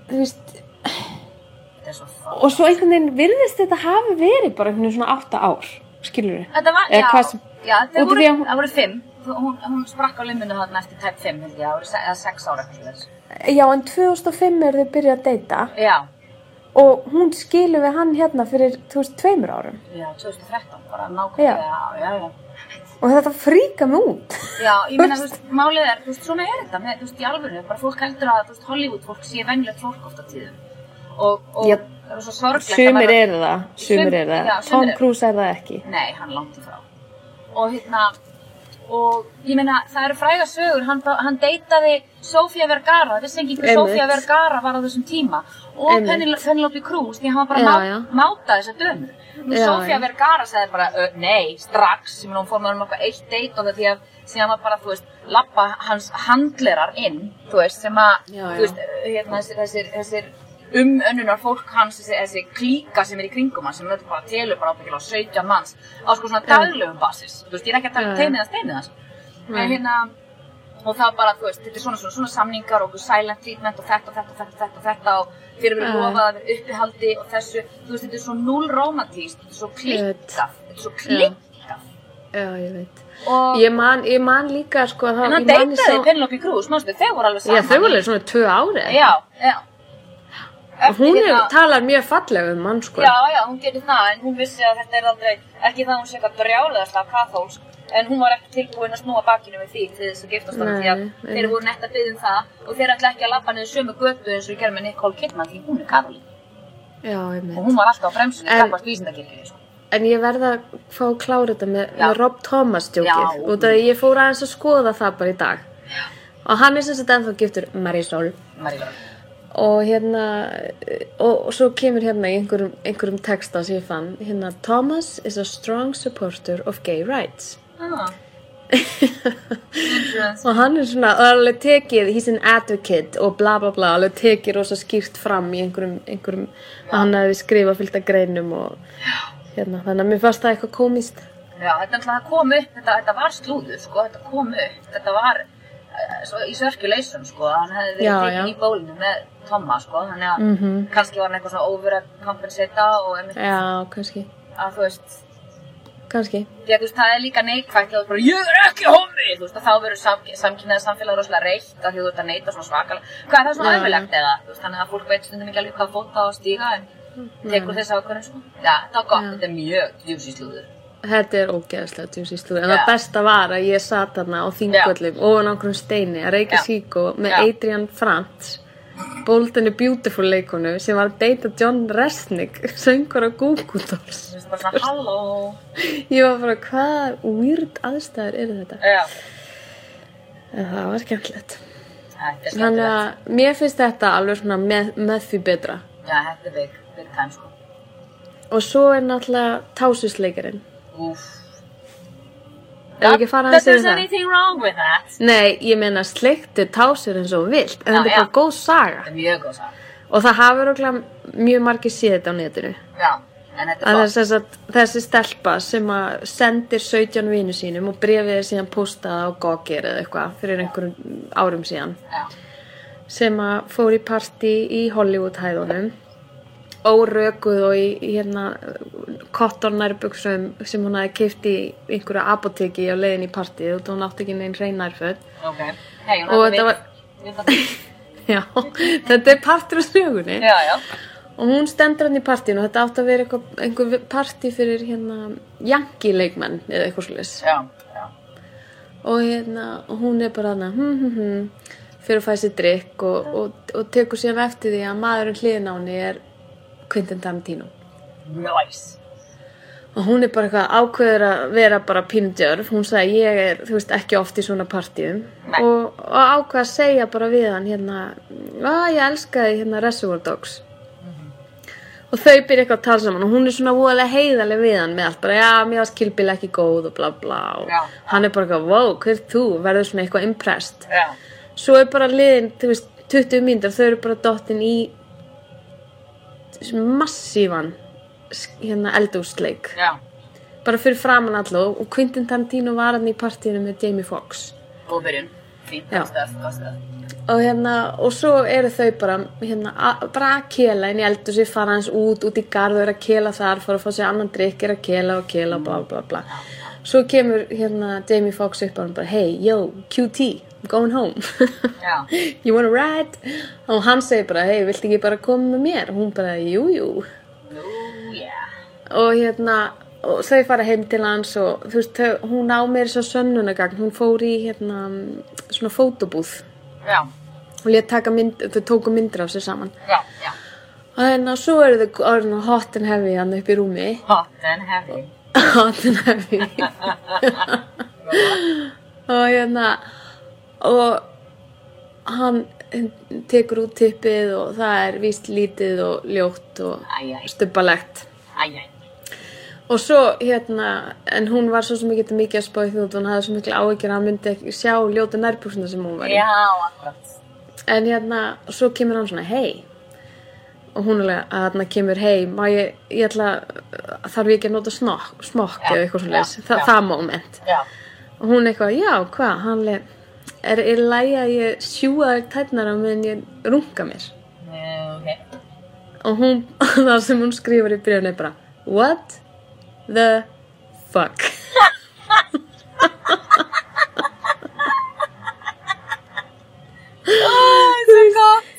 þú veist
Þetta er svo fó.
og svo einhvern veginn virðist þetta hafi verið bara einhvern veginn svona átta ár, skilur
Þetta var,
Eða hvað
já,
sem-
já,
út af
það voru,
því að hún-
það voru fimm. Þú- Hún, hún sprakk á limminu þarna eftir tæp fimm, held ég, það voru se- eða sex ára eitthvað slags.
já, en 2005 er þau byrjað að deyta
Já,
og hún skilur við hann hérna fyrir, þú veist, tveimur árum
já, 2013, bara nákvæmlega, já, já, já.
og þetta fríka mig út
Já, ég meina, þú veist, málið er, þú veist, svona er þetta, með, þú veist, í alvöru, bara fólk heldur að, þú veist, Hollywood fólk sé venjulegt fólk ofta tíðum. Og, og,
Já.
það er svo sorglegt. að
sumir
vera-
eru það, sumir
Sum-
eru það
já, sumir
Tom
eru.
Cruise er það ekki
Nei, hann er langt í frá. Og hérna, og ég meina, það eru fræga sögur, hann, hann deytaði Sofía Vergara, vissi ekki hver
Einmitt.
Sofía Vergara var á þessum tíma, og
Einmitt.
Penel- Penelope Cruz, því hann var bara
Já,
já, má,
já.
máta þessar dömur. Nú
Já,
Sofía
já.
Vergara sagði bara, "Ö, nei, strax, sem hún fór með hann okkar eitt deyt og það því að, sem hann var bara, þú veist, lappa hans handlerar inn, þú veist, sem að,
Já, já.
þú veist, hérna, þessir, þessir, þessir umönnunar fólk hans, þessi, þessi klíka sem er í kringum hans, sem þetta bara telur bara ábyggilega 17 manns á sko svona daglegum basis, þú veist, ég er ekki að tala um
Já, já.
teinið hans, teinið hans, en hérna, og það bara, þú veist, þetta er svona, svona, svona samningar og silent treatment og þetta, og þetta, og þetta, og þetta, og þetta og fyrir verið
Já.
lofað að vera uppihaldi og þessu, þú veist, þetta er svo null romantíst, þetta er svo
Ég veit.
klikkað, þetta er svo klikkað,
já, ég veit
og,
ég man, ég man líka sko þá,
en hann
ég man ég
deytaði
sá-
Penelope Cruz, mannstu, þau voru
já,
alveg saman
þau
í-
voru alveg svona tvö ári
já, já,
og hún er,
hérna-
talar mjög fallega um hann sko
Já, já, hún getur það, en hún vissi að þetta er aldrei, ekki það að hún sé eitthvað brjálega kathólsk, en hún var ekki tilbúin að snúa bakinu við því til þess að giftast hann,
Nei,
því að
nei.
þeir voru netta byggðum það og þeir ætla ekki að labba niður sömu götu eins og ég gerði með Nicole Kidman, því hún er kathólík.
já ég
Og
veit
hún var alltaf á bremsunni,
En-
það var vísindakirkjunni, sko.
en ég verða að fá að klára þetta með,
Já.
með Rob Thomas
Já.
djókið út af því ég fór aðeins að skoða það bara í dag og hann er sem sagt ennþá giftur Marisol
Maríla.
og hérna og, og svo kemur hérna í einhverjum, einhverjum texta sem ég fann hérna Thomas is a strong supporter of gay rights
Ah.
og hann er svona og alveg tekið, he's an advocate og bla bla bla, alveg tekið rosa skýrt fram í einhverjum, einhverjum að hann hefði skrifað fylgta greinum og hérna, þannig að mér fannst það eitthvað komist
Já, þetta er alltaf kom upp, þetta, þetta var slúður, sko, þetta kom upp, þetta var eh, svo, í sörkuleysum, sko, hann hefði verið
Já,
tekinn
já.
í bólinu með Tomma, sko, þannig að kannski var hann eitthvað svona over að kompensata og einmitt
já, kannski,
að þú veist,
kannski
því að þú veist, það er líka neikvægt og bara, ég er ekki homi, þú veist, að þá verður sam, samkynnaðið samfélag rosalega reitt að því þú ert að neita svona svakalega, hvað er það svona
Já, já.
ömulegt eða, þú veist, þannig að fólk veit stundum ekki alveg hvað fóta á að stíga en tekur þess ákvörðum, sko, já, það er gott, þetta er mjög djúsi slúður,
Þetta er ógeðslega djúsi slúður, en
Já.
það besta var að ég sat þarna á þingvöllum ofan á einhverjum steini að reykja
Já.
síkó með
Já.
Adrian Frantz, Bold and the Beautiful leikonu sem var að deyta John Resnick, söngur á Google Dolls.
þú veist, bara svona, halló,
Ég var bara, hvaða weird aðstæður eru þetta?
já,
En það var skemmtilegt.
þetta er
Þannig
skemmtilegt.
að mér finnst þetta alveg svona með, með því betra.
Já, þetta er big, big time sko.
Og svo er náttúrulega tásusleikarinn.
Úf.
Ef við ekki fara
That
aðeins yfir
there's
það?
anything wrong with that.
Nei, ég meina sleikti tásur eins og vilt, en
Já,
þetta er
já.
bara góð saga.
Það er mjög góð sag.
Og það hafa röglega mjög margir séð þetta á netinu.
Já, en þetta er
Að það er
gott.
sem sagt, þessi stelpa sem að sendir 17 vinnu sínum og brefið er síðan postað á Gogger eða eitthvað fyrir einhverjum árum síðan
Já,
sem að fór í partí í Hollywood-hæðunum órökuð og í í hérna kottornærbuksum sem hún hafi keypt í einhverju apoteki á leiðin í partíð og hún átti ekki neinn reynærföld
ok. Hei, hún
Og
hafði
þetta
vit- vitað það.
Já, þetta er partur á sögunni
Já, já.
og hún stendur hann í partíinu og þetta átti að vera eitthvað, einhver partí fyrir hérna Yankee leikmenn eða eitthvað slis
Já, já.
og hérna og hún er bara hann hm, hm, hm, fyrir að fæða sér drikk og, og, og tekur síðan eftir því að maðurinn hliðin á henni er Quentin Tarantino
Nice.
og hún er bara eitthvað ákveður að vera bara pindjörf hún sagði ég er, þú veist, ekki oft í svona partíum
Nei.
og, og ákveð að segja bara við hann hérna að ég elskaði hérna Reservoir Dogs og þau byrja eitthvað að tala saman og hún er svona voðalega heiðaleg við hann með allt bara já, mér varst kilbil ekki góð og bla bla og
Já.
hann er bara eitthvað, wow, hver ert þú verður svona eitthvað impressed
Já.
svo er bara liðin, þú veist, 20 mínútur þau eru bara dottin í massívan hérna eldúsleik
Já.
bara fyrir framann allu og Quentin Tarantino var hann í partíinu með Jamie Foxx
Góð byrjun. Fínt,
Já.
gott stöð, gott stöð.
og hérna, og svo eru þau bara hérna, a- bara að kela inn í eldur sér fara hans út, út í garð og eru að kela þar, fara að fá sér annan drikk, eru að kela og kela og bla bla bla svo kemur hérna Jamie Foxx upp og hann bara, hey, yo, QT I'm going home
Já.
you wanna ride? og hann segir bara, hey, viltu ekki bara koma með mér? og hún bara, jú, jú
Nú, já.
og hérna og þau fara heim til hans og þú veist, þau, hún á mér svo sönnunagagn hún fór í hérna svona fótobúð
Já.
og lét taka mynd, þau tóku myndir af sér saman
Já, já.
og hérna svo eru þau orðin hot and heavy hann upp í rúmi
Hot and heavy.
hot and heavy og hérna og hann tekur út tippið og það er víst lítið og ljótt og
Æ, æ,
stubbalegt
æ, æ.
Og svo, hérna, en hún var svo sem ekki mikið að spá í því að hún hafði svo mikil áhyggjur að hann myndi ekki sjá ljóta nærbúsina sem hún var í.
Já, akkurat.
En hérna, svo kemur hann svona, hei. Og hún alveg, að hérna kemur, hei, má ég, ég ætla, þarf ég ekki að nota snokk, smokk
Já,
eða eitthvað svona leys.
já,
Þa,
já.
það moment.
Já.
Og hún eitthvað, já, hvað, hann alveg, er í lagi að ég sjúa þér tætnar á meðan ég runga mér.
Nú, ok.
Og hún, það sem hún skrifar í bréfni er bara, what the fuck.
Það er gott.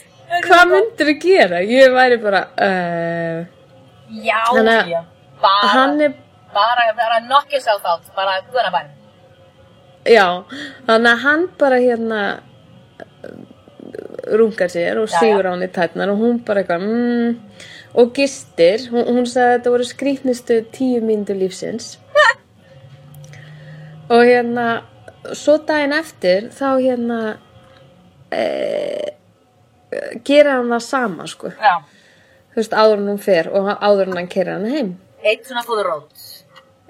Hvað myndir þú gera? Ég væri bara uh,
Já,
Þannig að-
já. Bara.
Hann er
bara, bara knock yourself out, bara guðna bæn.
Já, þannig að hann bara hérna rungar sér og
Já, já.
sigur á hann í tætnar og hún bara eitthvað mm, og gistir, hún, hún sagði að þetta voru skrýtnistu tíu myndu lífsins og hérna svo daginn eftir þá hérna e,
eh, gera hann það sama sko
Já.
þú veist áður en hann fer og áður en hann kerir hann heim
Eitt svona fóðurót.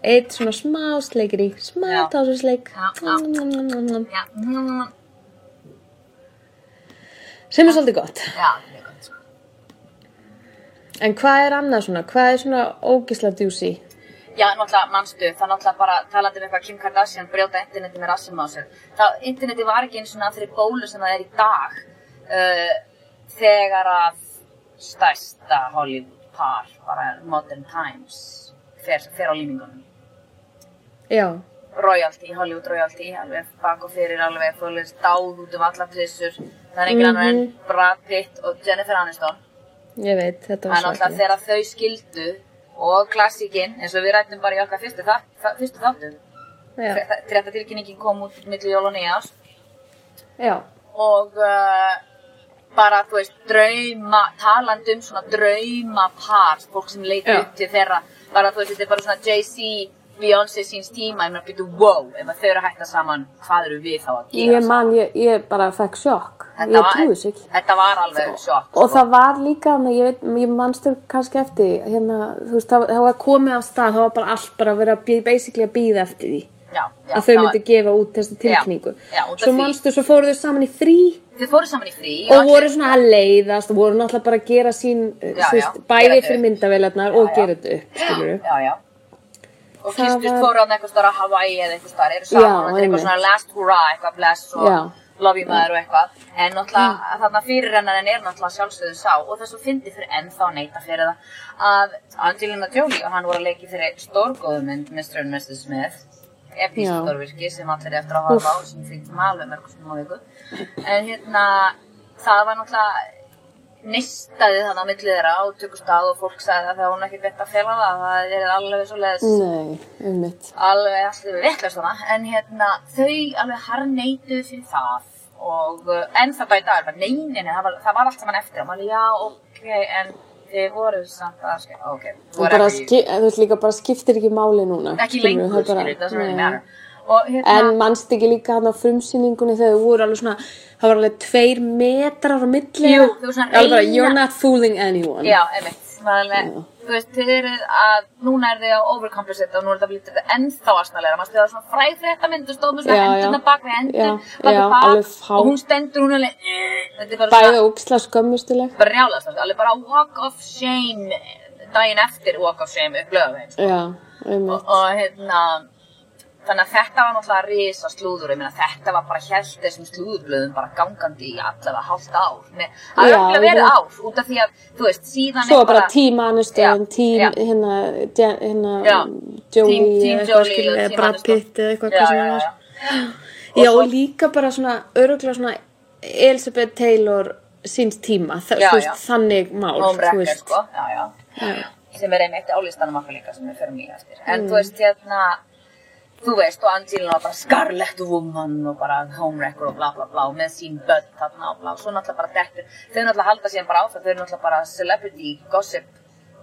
eitt svona smá sleikir í smá
Já.
tásasleik
Já, já.
sem
Já. Mm,
er svolítið gott
Já, það er gott. sko.
en hvað er annað svona, hvað er svona ógisla djúsi
Já, náttúrulega, mannstu, það er náttúrulega bara talandi um eitthvað Kim Kardashian brjóta interneti með rassum á sér. Það, interneti var ekki eins og það fyrir bólu sem það er í dag uh, þegar að stærsta Hollywood par, bara modern times, fer, fer á límingunum.
já,
royalty, Hollywood royalty, alveg bak og fyrir, alveg fólist dáð út um alla plissur. Það er engin annar en Brad Pitt og Jennifer Aniston.
ég veit, þetta
Það
var
er náttúrulega
svakilegt
þegar þau skildu og klassíkinn, eins og við rættum bara í okkar fyrstu, þa þa fyrstu þáttum.
já,
Þetta tilkynningin kom út milli jól og nýjás
já,
og uh, bara, þú veist, drauma, talandi um svona draumapar, fólk sem leiti
Já.
upp til þeirra, bara, þú veist, þetta er bara svona Jay-Z, Beyoncé síns tíma, ég meina, býtu, wow, ef að þau eru að hætta saman, hvað eru við þá að gera?
Ég man, ég, ég bara fekk sjokk.
Þetta
Ég
var-
trúi þess ekki. Sko.
Þetta var alveg sjokk.
Og það var líka, þarna, ég veit, ég manstu kannski eftir, því, hérna, þú veist, það, það var komið af stað, það var bara allt bara að vera að bí- basically að býða eftir því.
já, já,
að þau
það var-
myndi gefa út þessa tilkningu.
Já, já, út af
svo
því.
manstu, svo fóru þau saman í frí
Þau fóru saman í frí.
og voru svona að leiðast og voru náttúrulega bara að gera sín,
Já,
þú veist,
já, gera
bæði
þetta
fyrir
upp.
myndavélarnar og gera þetta upp, skilur
Já, já. Og
Það
kýstust
var-
fóru hann eitthvað starf að Hawaii eða eitthvað starf, eru saman
Já,
og þetta er eitthvað
einmitt.
svona last hurrah, eitthvað bless og
Já. Mm.
love you maður og eitthvað. En náttúrulega þarna fyrirrennarin er náttúrulega sjálfsögðu sá og þess að fyndi fyrir ennþá neyta fyrir það að Angelina Jolie og hann voru að leiki fyrir stórgóðumynd Mr. and Mrs. Smith episkt
Já.
stórvirki sem allir er eftir að horfa á sem fengtum alveg mörg sem á viku en hérna það var náttúrulega neistaði þannig á milli þeirra á tökustað og fólk sagði það þegar hún ekki bett að fela það það er alveg svo leiðis
Nei, um mitt.
alveg allir veklast þarna en hérna þau alveg harneitu fyrir það og uh, en það bæta alveg neinin það, var- það var allt saman eftir og maður já ok en þið voru samt að skilja ok
Og
whatever
bara,
you-
skip, þú veist, líka bara skiptir ekki máli núna.
ekki
skilurðu,
lengur
bara-
skilja það sem er
Nei.
meðan og hérna
En mannst ekki líka hann á frumsýningunni þegar þau voru alveg svona, það var alveg tveir metrar á milli.
Jú, þú svona
Alveg bara,
reyna-
you're not fooling anyone.
Já, einmitt, maðurlega,
Hm.
þú veist, þið eruð að, núna er þið að overcompensate og nú er það blítið þetta ennþá astanlega, maður stuðið að svona fræg frétta mynd og stóðum svona
Já, já.
hendurna bak við
Já,
hendur, bak
já,
við bak
alveg fá-
og hún stendur hún alveg, "Ugh", þetta er bara
Bæði ópsla skömmustileg.
bara rjálast, alveg bara walk of shame, daginn eftir walk of shame upp lögum, sko
Já, um mitt.
og hérna þannig að þetta var náttúrulega risa slúður ég meina þetta var bara hjælt þessum slúðurblöðum bara gangandi í allavega hálft ár Nei, það
Já,
er allavega verið
ég-
ár út af því að þú veist síðan
Svo
er
var bara tím Aniston,
Já,
tím
já.
hérna, Je- hérna
Já.
Jolie,
Team- Team
eða eitthvað
Jolie
skilur,
og
eða
Team
Brad
Aniston.
Pitt eða eitthvað
Já,
hvað sem
já,
það var.
já.
Já, og líka bara svona, öruglega svona Elizabeth Taylor síns tíma, það,
Já,
þú
já.
veist, þannig mál,
Home
þú
Wrecker
veist.
sko já, já. sem er einmitt á listanum okkar líka sem við förum í eftir
Mm.
en þú veist hérna þú veist og Angelina var bara Scarlet Woman og bara Home Wrecker og bla bla bla og með sín börn þarna og bla svo náttúrulega bara dettur þau náttúrulega halda síðan bara áfram þau eru náttúrulega bara celebrity gossip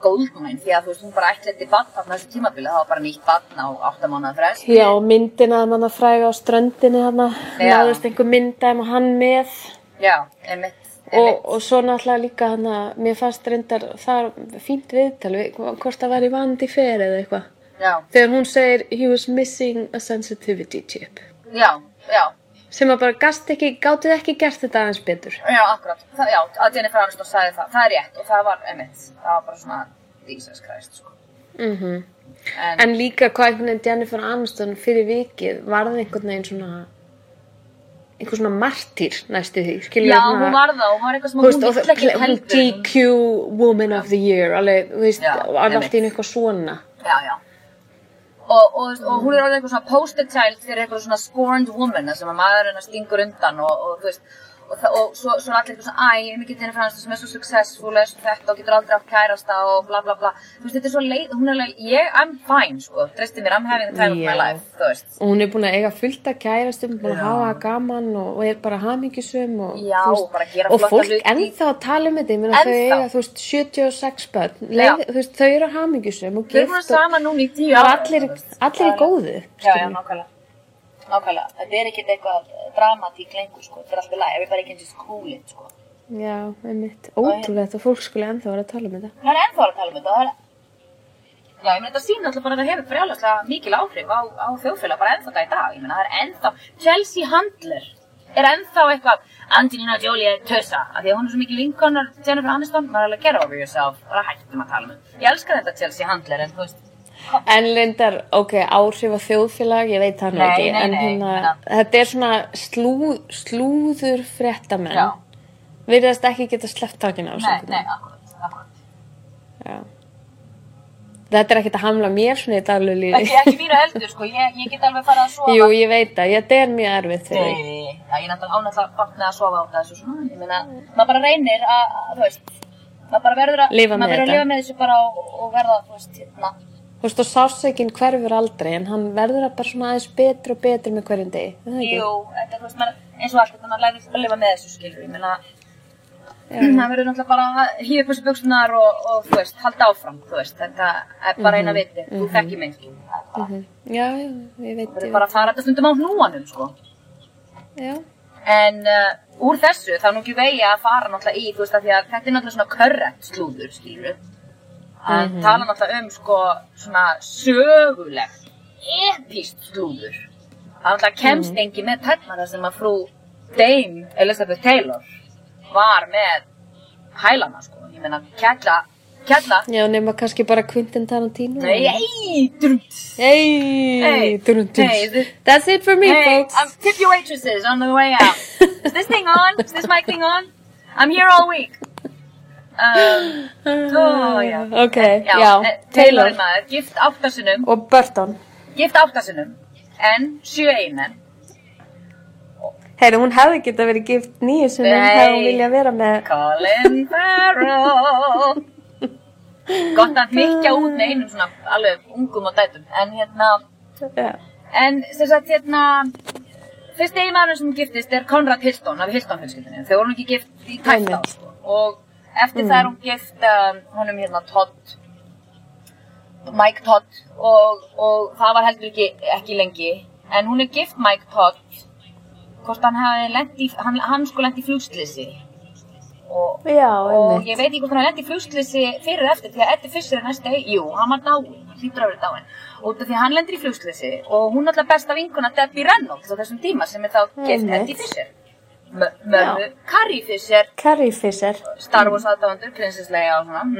goldmine því að þú veist hún bara ætlaði bann þarna á þessu tímabili það var bara nýtt bann á 8 mánuða frest
Já, og myndina að manna fræga á ströndinni hana,
Já.
náðist einhver myndaðum og hann með
já einmitt,
og,
einmitt.
og svo náttúrulega líka hana, mér fannst reyndar, það er fínt viðtal, við, hvort það var í vandi fer eða eitthvað.
já
Þegar hún segir, he was missing a sensitivity chip.
já já
Sem að bara gast ekki, gátið ekki gert þetta aðeins betur.
Já, akkurat. Það, já, að Jennifer Aniston sagði það. Það er rétt og það var, einmitt, það var bara svona Jesus Christ, sko. Mhm. en,
En líka hvað einhvern veginn Jennifer Aniston fyrir vikið varði einhvern veginn svona einhvern svona martýr næstu því. Skilur
já, hún var það og hún var eitthvað sem
Þú veist,
hún
og
vill ekki
það- hún
heldur. Hún-
GQ Woman of the Year, alveg, þú veist,
Já,
og alveg
einmitt.
allt í einu eitthvað svona.
Já, já. Og, og, og hún er alveg eitthvað svona poster child fyrir eitthvað svona scorned woman, það sem að maður hennar stingur undan og, og þú veist, og, það, og svo, svo er allir eitthvað svona, æ, ég er mikið Jennifer Aniston sem er svo successful eins og þetta og getur aldrei átt kærasta og bla bla bla. Þú veist, þetta er svo leið, hún er alveg, ég, I'm fine, sko, treysti mér, I'm having the time of my
Já.
life, þú veist.
Og hún er búin að eiga fullt að kærast um, búin að hafa það gaman og, og er bara hamingisum og,
Já,
þú
og bara gera
og
flotta
fólk
hluti.
ennþá að tala um þetta, ég meina þau
Ennþá.
eiga, þú veist, 76 börn, leið, þú veist, þau eru hamingisum og
Við erum búin
gift
að
og
sama núna í tíu
það er
ára.
allir, allir í góðu.
Já, já,
skilur.
nákvæmlega. Nákvæmlega. Þetta er ekkert eitthvað dramatík lengur, sko. Þetta er alltaf læg. Ef við bara ekki eins og skúlinn, sko.
Já, einmitt. Ótrúlegt að fólk skulle ennþá vera að tala um þetta.
Það er ennþá að tala um þetta. það Er... Já, ég meina þetta sína alltaf bara að það hefur frjálagslega mikil áhrif á, á þjóðfélag bara ennþá það í dag. Ég meina það er ennþá, Chelsea Handler er ennþá eitthvað, Angelina Jolie er tösa. Af því að hún er svo mikil vinkonar Jennifer Aniston, maður er alveg að gera over yourself, bara hættum að tala um þetta. Ég elska þetta Chelsea Handler, en þú veist,
En lindar, ok, áhrif á þjóðfélag, ég veit það nú
Nei,
ekki.
nei,
en
nei,
hérna,
en-
þetta er svona slú, slúður fréttamenn.
Já.
Virðast ekki geta sleppt takina á
nei, nei, akkurat, akkurat.
Já. Þetta er ekkert að hamla mér svona í daglegu lífi.
Ekki, ekki mínu heldur, sko, ég, ég get alveg farið að sofa.
Jú, ég veit það. Þetta er mjög erfitt fyrir
Nei,
þig.
nei, nei, Já, ég er náttúrulega ánægt að vakna að sofa á þessu og svona, ég meina, maður bara reynir að, að, þú veist, maður bara verður að,
Lifa með
maður verður að
þetta.
lifa með þessu bara og, og verða, þú veist, hérna,
Þú veist, og sásökin hverfur aldrei, en hann verður að bara svona aðeins betur og betur með hverjum degi. Er það ekki?
jú, þetta, þú veist, maður, eins og allt, þetta maður lærir að lifa með þessu, skilur, ég meina, maður verður náttúrulega bara að hýða upp þessu buksunar og, og, þú veist, halda áfram, þú veist, þetta er bara
Mhm,
eina viti, þú þekkir mig, skilur, það er bara,
Já, já, Mhm, ég veit,
maður
ég
er bara að fara þetta stundum á hnúanum, sko.
veit. Já.
En uh, úr þessu þá er nú ekki vegi að fara náttúrulega í, þú veist, af því að þetta er náttúrulega svona körrekt slúður, skilur við. Að tala náttúrulega um, sko, svona sögulegt, epíst slúður. Það náttúrulega kemst engin með tæknara sem að frú Dame Elizabeth Taylor var með hælana, sko. Ég meina, kjalla, kjalla,
Já, nema kannski bara Quentin Tarantino.
nei, ei, drumt.
Hey,
Hey.
dun, dun.
Hey, this-
That's it for me,
Hey,
folks.
I'm tip your waitresses on the way out. Is this thing on? Is this mic thing on? I'm here all week. Um, oh, já.
Ok, já,
eh,
Taylor.
Taylor er maður, gift áttasunum,
Og Burton.
gift áttasunum, en sjö einmenn.
Heyri, hún hefði geta verið gift nýju sem
Nei.
hefði hún vilja vera með.
Colin Farrell. Gott að mikja út með einum svona alveg ungum og dætum, en hérna,
Já.
en sem sagt hérna, fyrst eiginmaðurinn sem giftist er Conrad Hilton af Hilton-fjölskyldinu, þau voru nú ekki gift í tæft á, sko, og eftir það er hún gift um, honum hérna Todd Mike Todd og, og það var heldur ekki, ekki lengi en hún er gift Mike Todd hvort hann hafi lent í hann, hann sko lent í flugstlisi og,
Já,
og
einmitt.
ég veit ekki hvort hann hafi lent í flugstlisi fyrir og eftir því að Eddie Fisher er næstu jú, hann var dáin, hann hlýtur að vera dáin út af því að hann lendir í flugstlisi og hún er alltaf besta vinkuna Debbie Reynolds á þessum tíma sem er þá gift
Einmitt.
Eddie Fisher Mö- mömmu Carrie Fisher
Carrie Fisher.
Star Wars aðdáðandur, Princess Leia og svona mm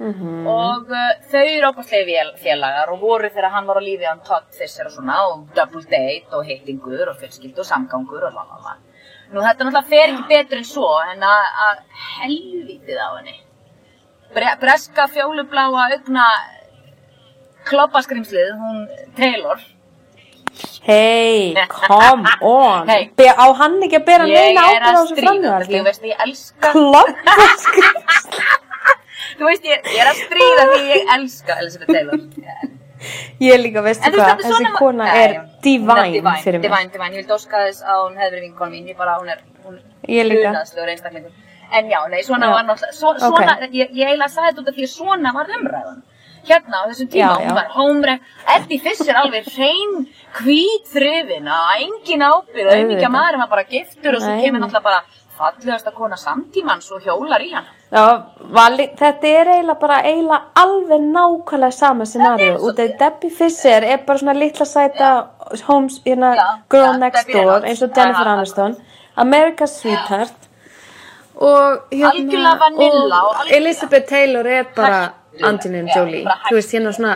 Mhm.
-hmm. og uh, þau eru opaslega vél- félagar og voru þegar hann var á lífi hann Todd Fisher og svona og double date og hittingur og fjölskyld og samgangur og lalala Nú þetta náttúrulega fer ekki betur en svo en að að helvítið á henni Bre Breska fjólubláa augna kloppaskrimslið, hún Taylor
Hey, come on.
Hey.
Be á hann ekki að bera
Ég
neina ábyrð á
er að
þessu
stríða, þessu, ég
framhjálfi.
veist að ég elska
Kloppaskri.
Þú veist, ég, ég er að stríða því ég elska Elizabeth Taylor
Ég líka, veistu
En þú veist,
hvað,
þetta er
þessi
svona-
kona
Nei,
er
já, hún
divine fyrir mig.
Divine, divine, ég vildi óska þess að hún hefði verið vinkon mín, ég bara, hún er, hún
Ég líka.
unaðslegur einstaklingur. En já, nei, svona
Já.
var náttúrulega, svo, svona,
Ok.
ég, ég eiginlega sagði þetta út af því að svona var umræðan. Hérna á þessum tíma,
Já, já.
hún var hómrek, Eddie Fisher alveg hrein hvít þrifin, að engin ábyrð,
Auðvitað.
auðvitað maður, hann bara giftur og svo
Nei,
kemur
nei.
náttúrulega bara fallegasta kona samtímans og hjólar í hann.
Já, vali, þetta er eiginlega bara eiginlega alveg nákvæmlega sama scenario
svo-
út af Debbie Fisher er bara svona litla sæta homes, hérna,
Já,
girl
já,
next
Debbie
door
Reynolds.
eins og Jennifer
Aha,
Aniston America's Sweetheart og
hérna-
Algjörlega vanilla og algjörlega-
Elizabeth Taylor er bara
Hættu.
Angelina
Já,
Jolie.
bara hættu.
Þú veist, hérna svona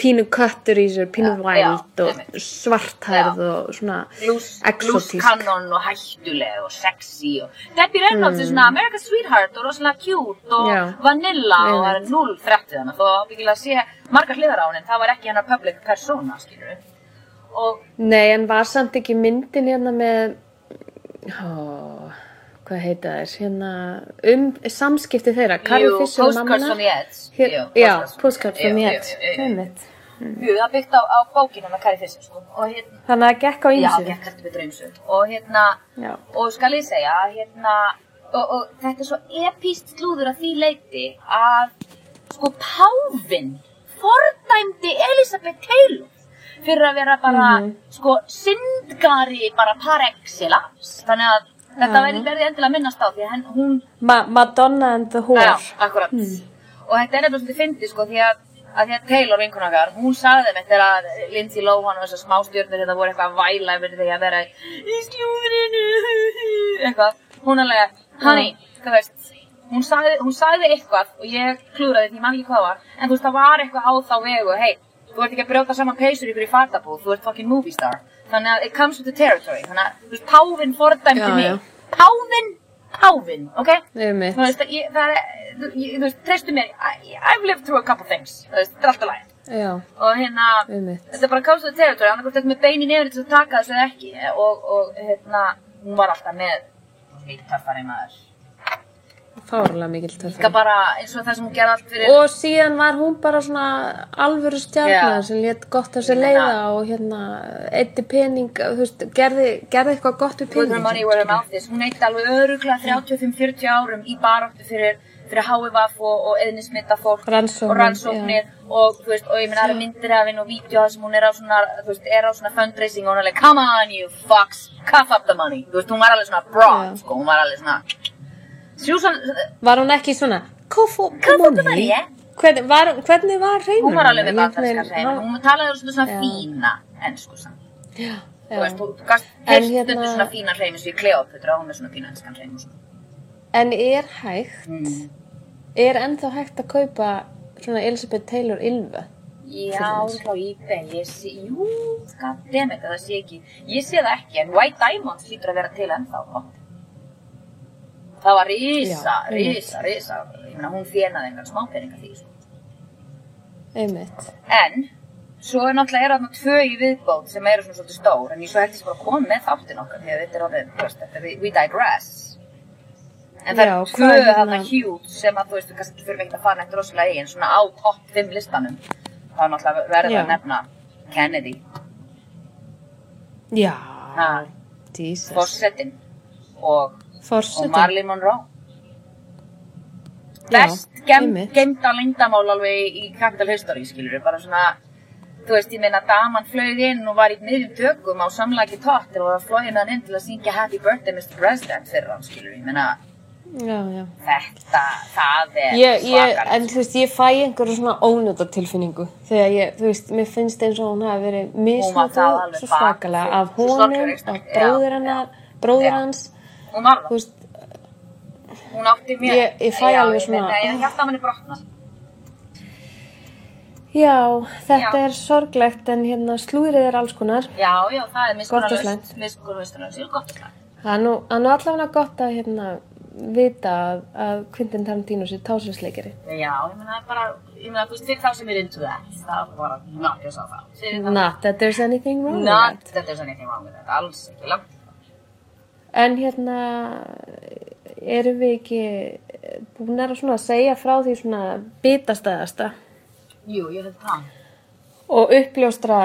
pínu köttur í sér, pínu
já,
wild
einmitt.
og svarthærð og svona
Blues, blues
exotísk.
canon og hættuleg og sexy og Debbie Reynolds er svona America's Sweetheart og rosalega cute og
Mm. Já.
vanilla og það er
Einmitt.
null frætt við hana þó að byggilega sé margar hliðar á henni en það var ekki hennar public persona skilur og
Nei, en var samt ekki myndin hérna með, ó, hvað heita þær, hérna, um samskipti þeirra, Carrie
jú,
Fisher og
Postcards
mammana.
from the Edge
Hér-
Jú,
já,
Postcards
Postcards from the
Jú,
Edge.
jú, jú, jú.
Einmitt.
Mm.
Jú, það er byggt á, á bókinu með Carrie Fisher sko. og hérna
þannig að það gekk á
Já,
ýmsu
gekk heldur betur eins og og hérna,
Já.
og skal ég segja að hérna, og, og þetta er svo epíst slúður að því leiti að sko Pávin fordæmdi Elisabeth Taylor
Mhm.
fyrir að vera bara sko syndgari bara par excellence þannig að Þetta verði verði endilega að minnast á því að henn, hún,
Ma Madonna and the Whore.
já, akkurat.
Hmm.
Og þetta er eitthvað sem þið fyndi, sko, því að, að því að Taylor vinkunakar, hún sagði þeim eftir að Lindsay Lohan og þessar smástjörnur þetta voru eitthvað að væla yfir því að vera í slúðrinu, eitthvað. Hún alveg, honey, þú veist, hún sagði, hún sagði eitthvað og ég klúraði því, ég man ekki hvað það var, en þú veist, það var eitthvað á þá vegu, hei, þú ert ekki að brjóta saman peysur ykkur í fatabúð, þú ert fucking movie star. Þannig að it comes with the territory, þannig að, þú veist, páfinn fordæmdi
Já, já.
mig. Páfinn, páfinn, ok?
Einmitt.
Þú veist, ég, það er, þú- ég- þú veist, treystu mér, I, I've lived through a couple things, þú veist, þetta er alltaf læg.
Já,
Og hérna,
Einmitt.
þetta er bara kásuðu territory, annarkvort þetta með beinin yfir til að taka þessu eða ekki. Og, og hérna, hún var alltaf með eitt töffari maður.
fárlega mikill töff.
Líka bara eins og það sem hún gerði allt fyrir.
Og síðan var hún bara svona alvöru stjarnar
Já.
sem létt gott af sér leiða og hérna, eitti pening, þú veist, gerði, gerði eitthvað gott við
With her
pening.
money where her mouth is. Hún eitt alveg öruglega 35-40 árum í baráttu fyrir, fyrir HVF og, og eðnismita fólk
Rannsóknir,
og rannsóknir og, þú veist, og ég meina það eru myndir af henni og vídeo þar sem hún er á svona, þú veist, er á svona fundraising og hún er alveg come on you fucks, cough up the money. Þú veist, hún var alveg svona broad,
Já.
sko, hún var alveg svona Susan,
Var hún ekki svona, koffu,
cough up the money, yeah?
Hvern, var, hvernig var reynum?
Hún var alveg með bandarinska hreinu, hún talaði um svona, svona fína ennsku samt. Þú veist, þú- þú gast
En
heyrst hérna...
hérna-
svona fína hreinu svo í Kleóputra og hún er svona fína ennskan hreinu svona.
En er hægt, er ennþá hægt að kaupa svona Elizabeth Taylor Ylva?
Já, frá eBay, ég sé, jú, goddammit, það sé ekki, ég sé það ekki, en White Diamond hlýtur að vera til ennþá, ó. það var risa,
Já, einmitt.
risa, risa, ég meina hún fjenaði einhvern smápeninga því, sko.
Einmitt.
En, svo er náttúrulega er þarna tvö í viðbót sem eru svona svolítið stór, en ég svo heldist bara að koma með þáttin okkar, því að þetta er alveg, þú veist, þetta, we, we digress. En það
Já,
eru
hvað
tvö
er hérna-
þarna huge sem að, þú veist, við kannski fyrir mikið að fara neitt rosalega eigin, svona á topp 5 listanum, þá er náttúrulega verður
Já.
að nefna Kennedy,
Já.
ha,
Ah, Jesus.
Fossettin og, og
Forsetin.
Marley Monroe.
Já,
Best gem,
einmitt.
gemda lengdamál alveg í Capital History, skilur við, bara svona, þú veist, ég meina daman flög inn og var í miðjum tökum á samlagi tótt og var flogið með hann inn til að syngja Happy Birthday Mr. President fyrir hann, skilur við, ég meina,
Já, já.
þetta, það er
Ég, ég,
svakalegt.
en þú veist, ég fæ einhverju svona ónöta tilfinningu þegar ég, þú veist, mér finnst eins og hún hafi verið
það alveg
misnotuð svo
bak-
svakalega af
svo
honum,
sorglegri,
af
já.
bróður hennar,
Já.
bróður hans,
Hún var
þú
það,
veist,
hún átti mér.
Ég- ég fæ alveg svona-
Nei, ég held að manni brotna.
já, þetta
Já.
er sorglegt en hérna slúðrið er alls konar.
Já, já, það er
Gott og
miskunnarlaust,
slæmt.
miskunnarlaust, gott og slæmt.
Það er nú, það er nú allavega gott að hérna vita að, að Quentin Tarantino sé tásinsleikari.
Já, ég meina það er bara, ég meina þú veist, fyrir þá sem er into that, það er bara knock yourself out. Fyrir þá,
Not that there's anything wrong
not
with that.
that there's anything wrong with that, alls ekki, langt.
En hérna, erum við ekki búnar að svona segja frá því svona bitastæðasta
Jú, ég hef það.
og uppljóstra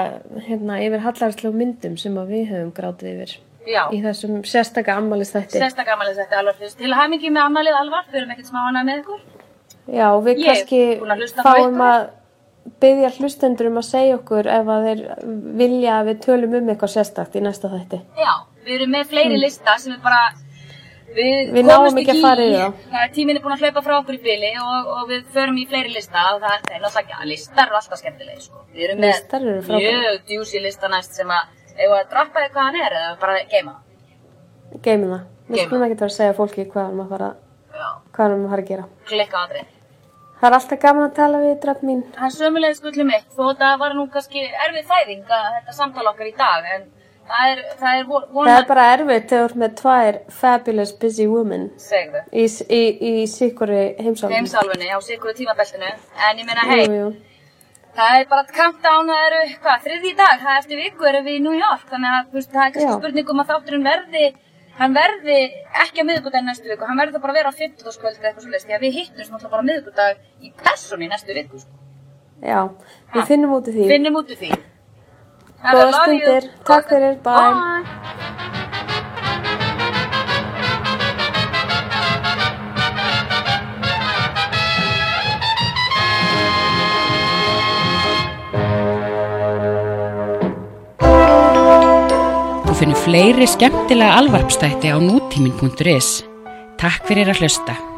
hérna yfir hallarslegu myndum sem að við höfum grátið yfir
Já,
í þessum sérstaka ammælistætti.
sérstak amalið þetta alveg fyrst. Til hamingi með amalið alvar, fyrir ekkert smá hana með ykkur.
Já, og við
Ég er búin að
kannski
hlusta á
fáum
ykkur.
að byggja hlustendur um að segja okkur ef að þeir vilja að við tölum um eitthvað sérstakt í næsta þætti.
Já, við erum með fleiri lista sem er bara, við,
Hmm. Við náum
komumst
ekki að
í-
fara í þá.
Það er tíminn er búin að hlaupa frá okkur í bili og, og við förum í fleiri lista og það það er náttúrulega, ekki- listar eru alltaf skemmtilegi, sko. Við erum
Listar eru
með
frábærir.
mjög djúsi lista næst sem að, ef að droppa þig hvað hann er eða bara geima það.
Geymum það. Við
Geymum
skulum ekkert vera að segja fólki hvað erum að fara,
Já,
hvað erum að fara að gera.
klikka á aðrið.
Það er alltaf gaman að tala við drafn mín.
Það er sömulegis gullum mitt þó þetta var nú kannski erfið fæðing að þetta samtala okkar í dag en það er, það er von-
Það er
vonan
bara erfitt þegar þú ert með tvær fabulous busy women
segðu
í, í, í sikkuri heimsálfum.
heimsálfunni á sikru tímabeltinu en ég meina
Jú,
hei,
jú.
það er bara countdown það eru hvað, þriði í dag, það er eftir viku erum við í New York þannig að þú veist, það er kannski
Já.
spurning um að þátturinn verði hann verði ekki að miðvikudaginn næstu viku hann verður þá bara að vera á 50 eða eitthvað svoleiðis því að við hittum náttúrulega bara miðvikudag í persóni næstu viku sko.
Já, við finnum út í því.
finnum út úr því
Góðar
I love you.
stundir. Takk fyrir. Bye.
Bye.
Þú og finnum fleiri skemmtilega alvarpstætti á nútímin.is. Takk fyrir að hlusta.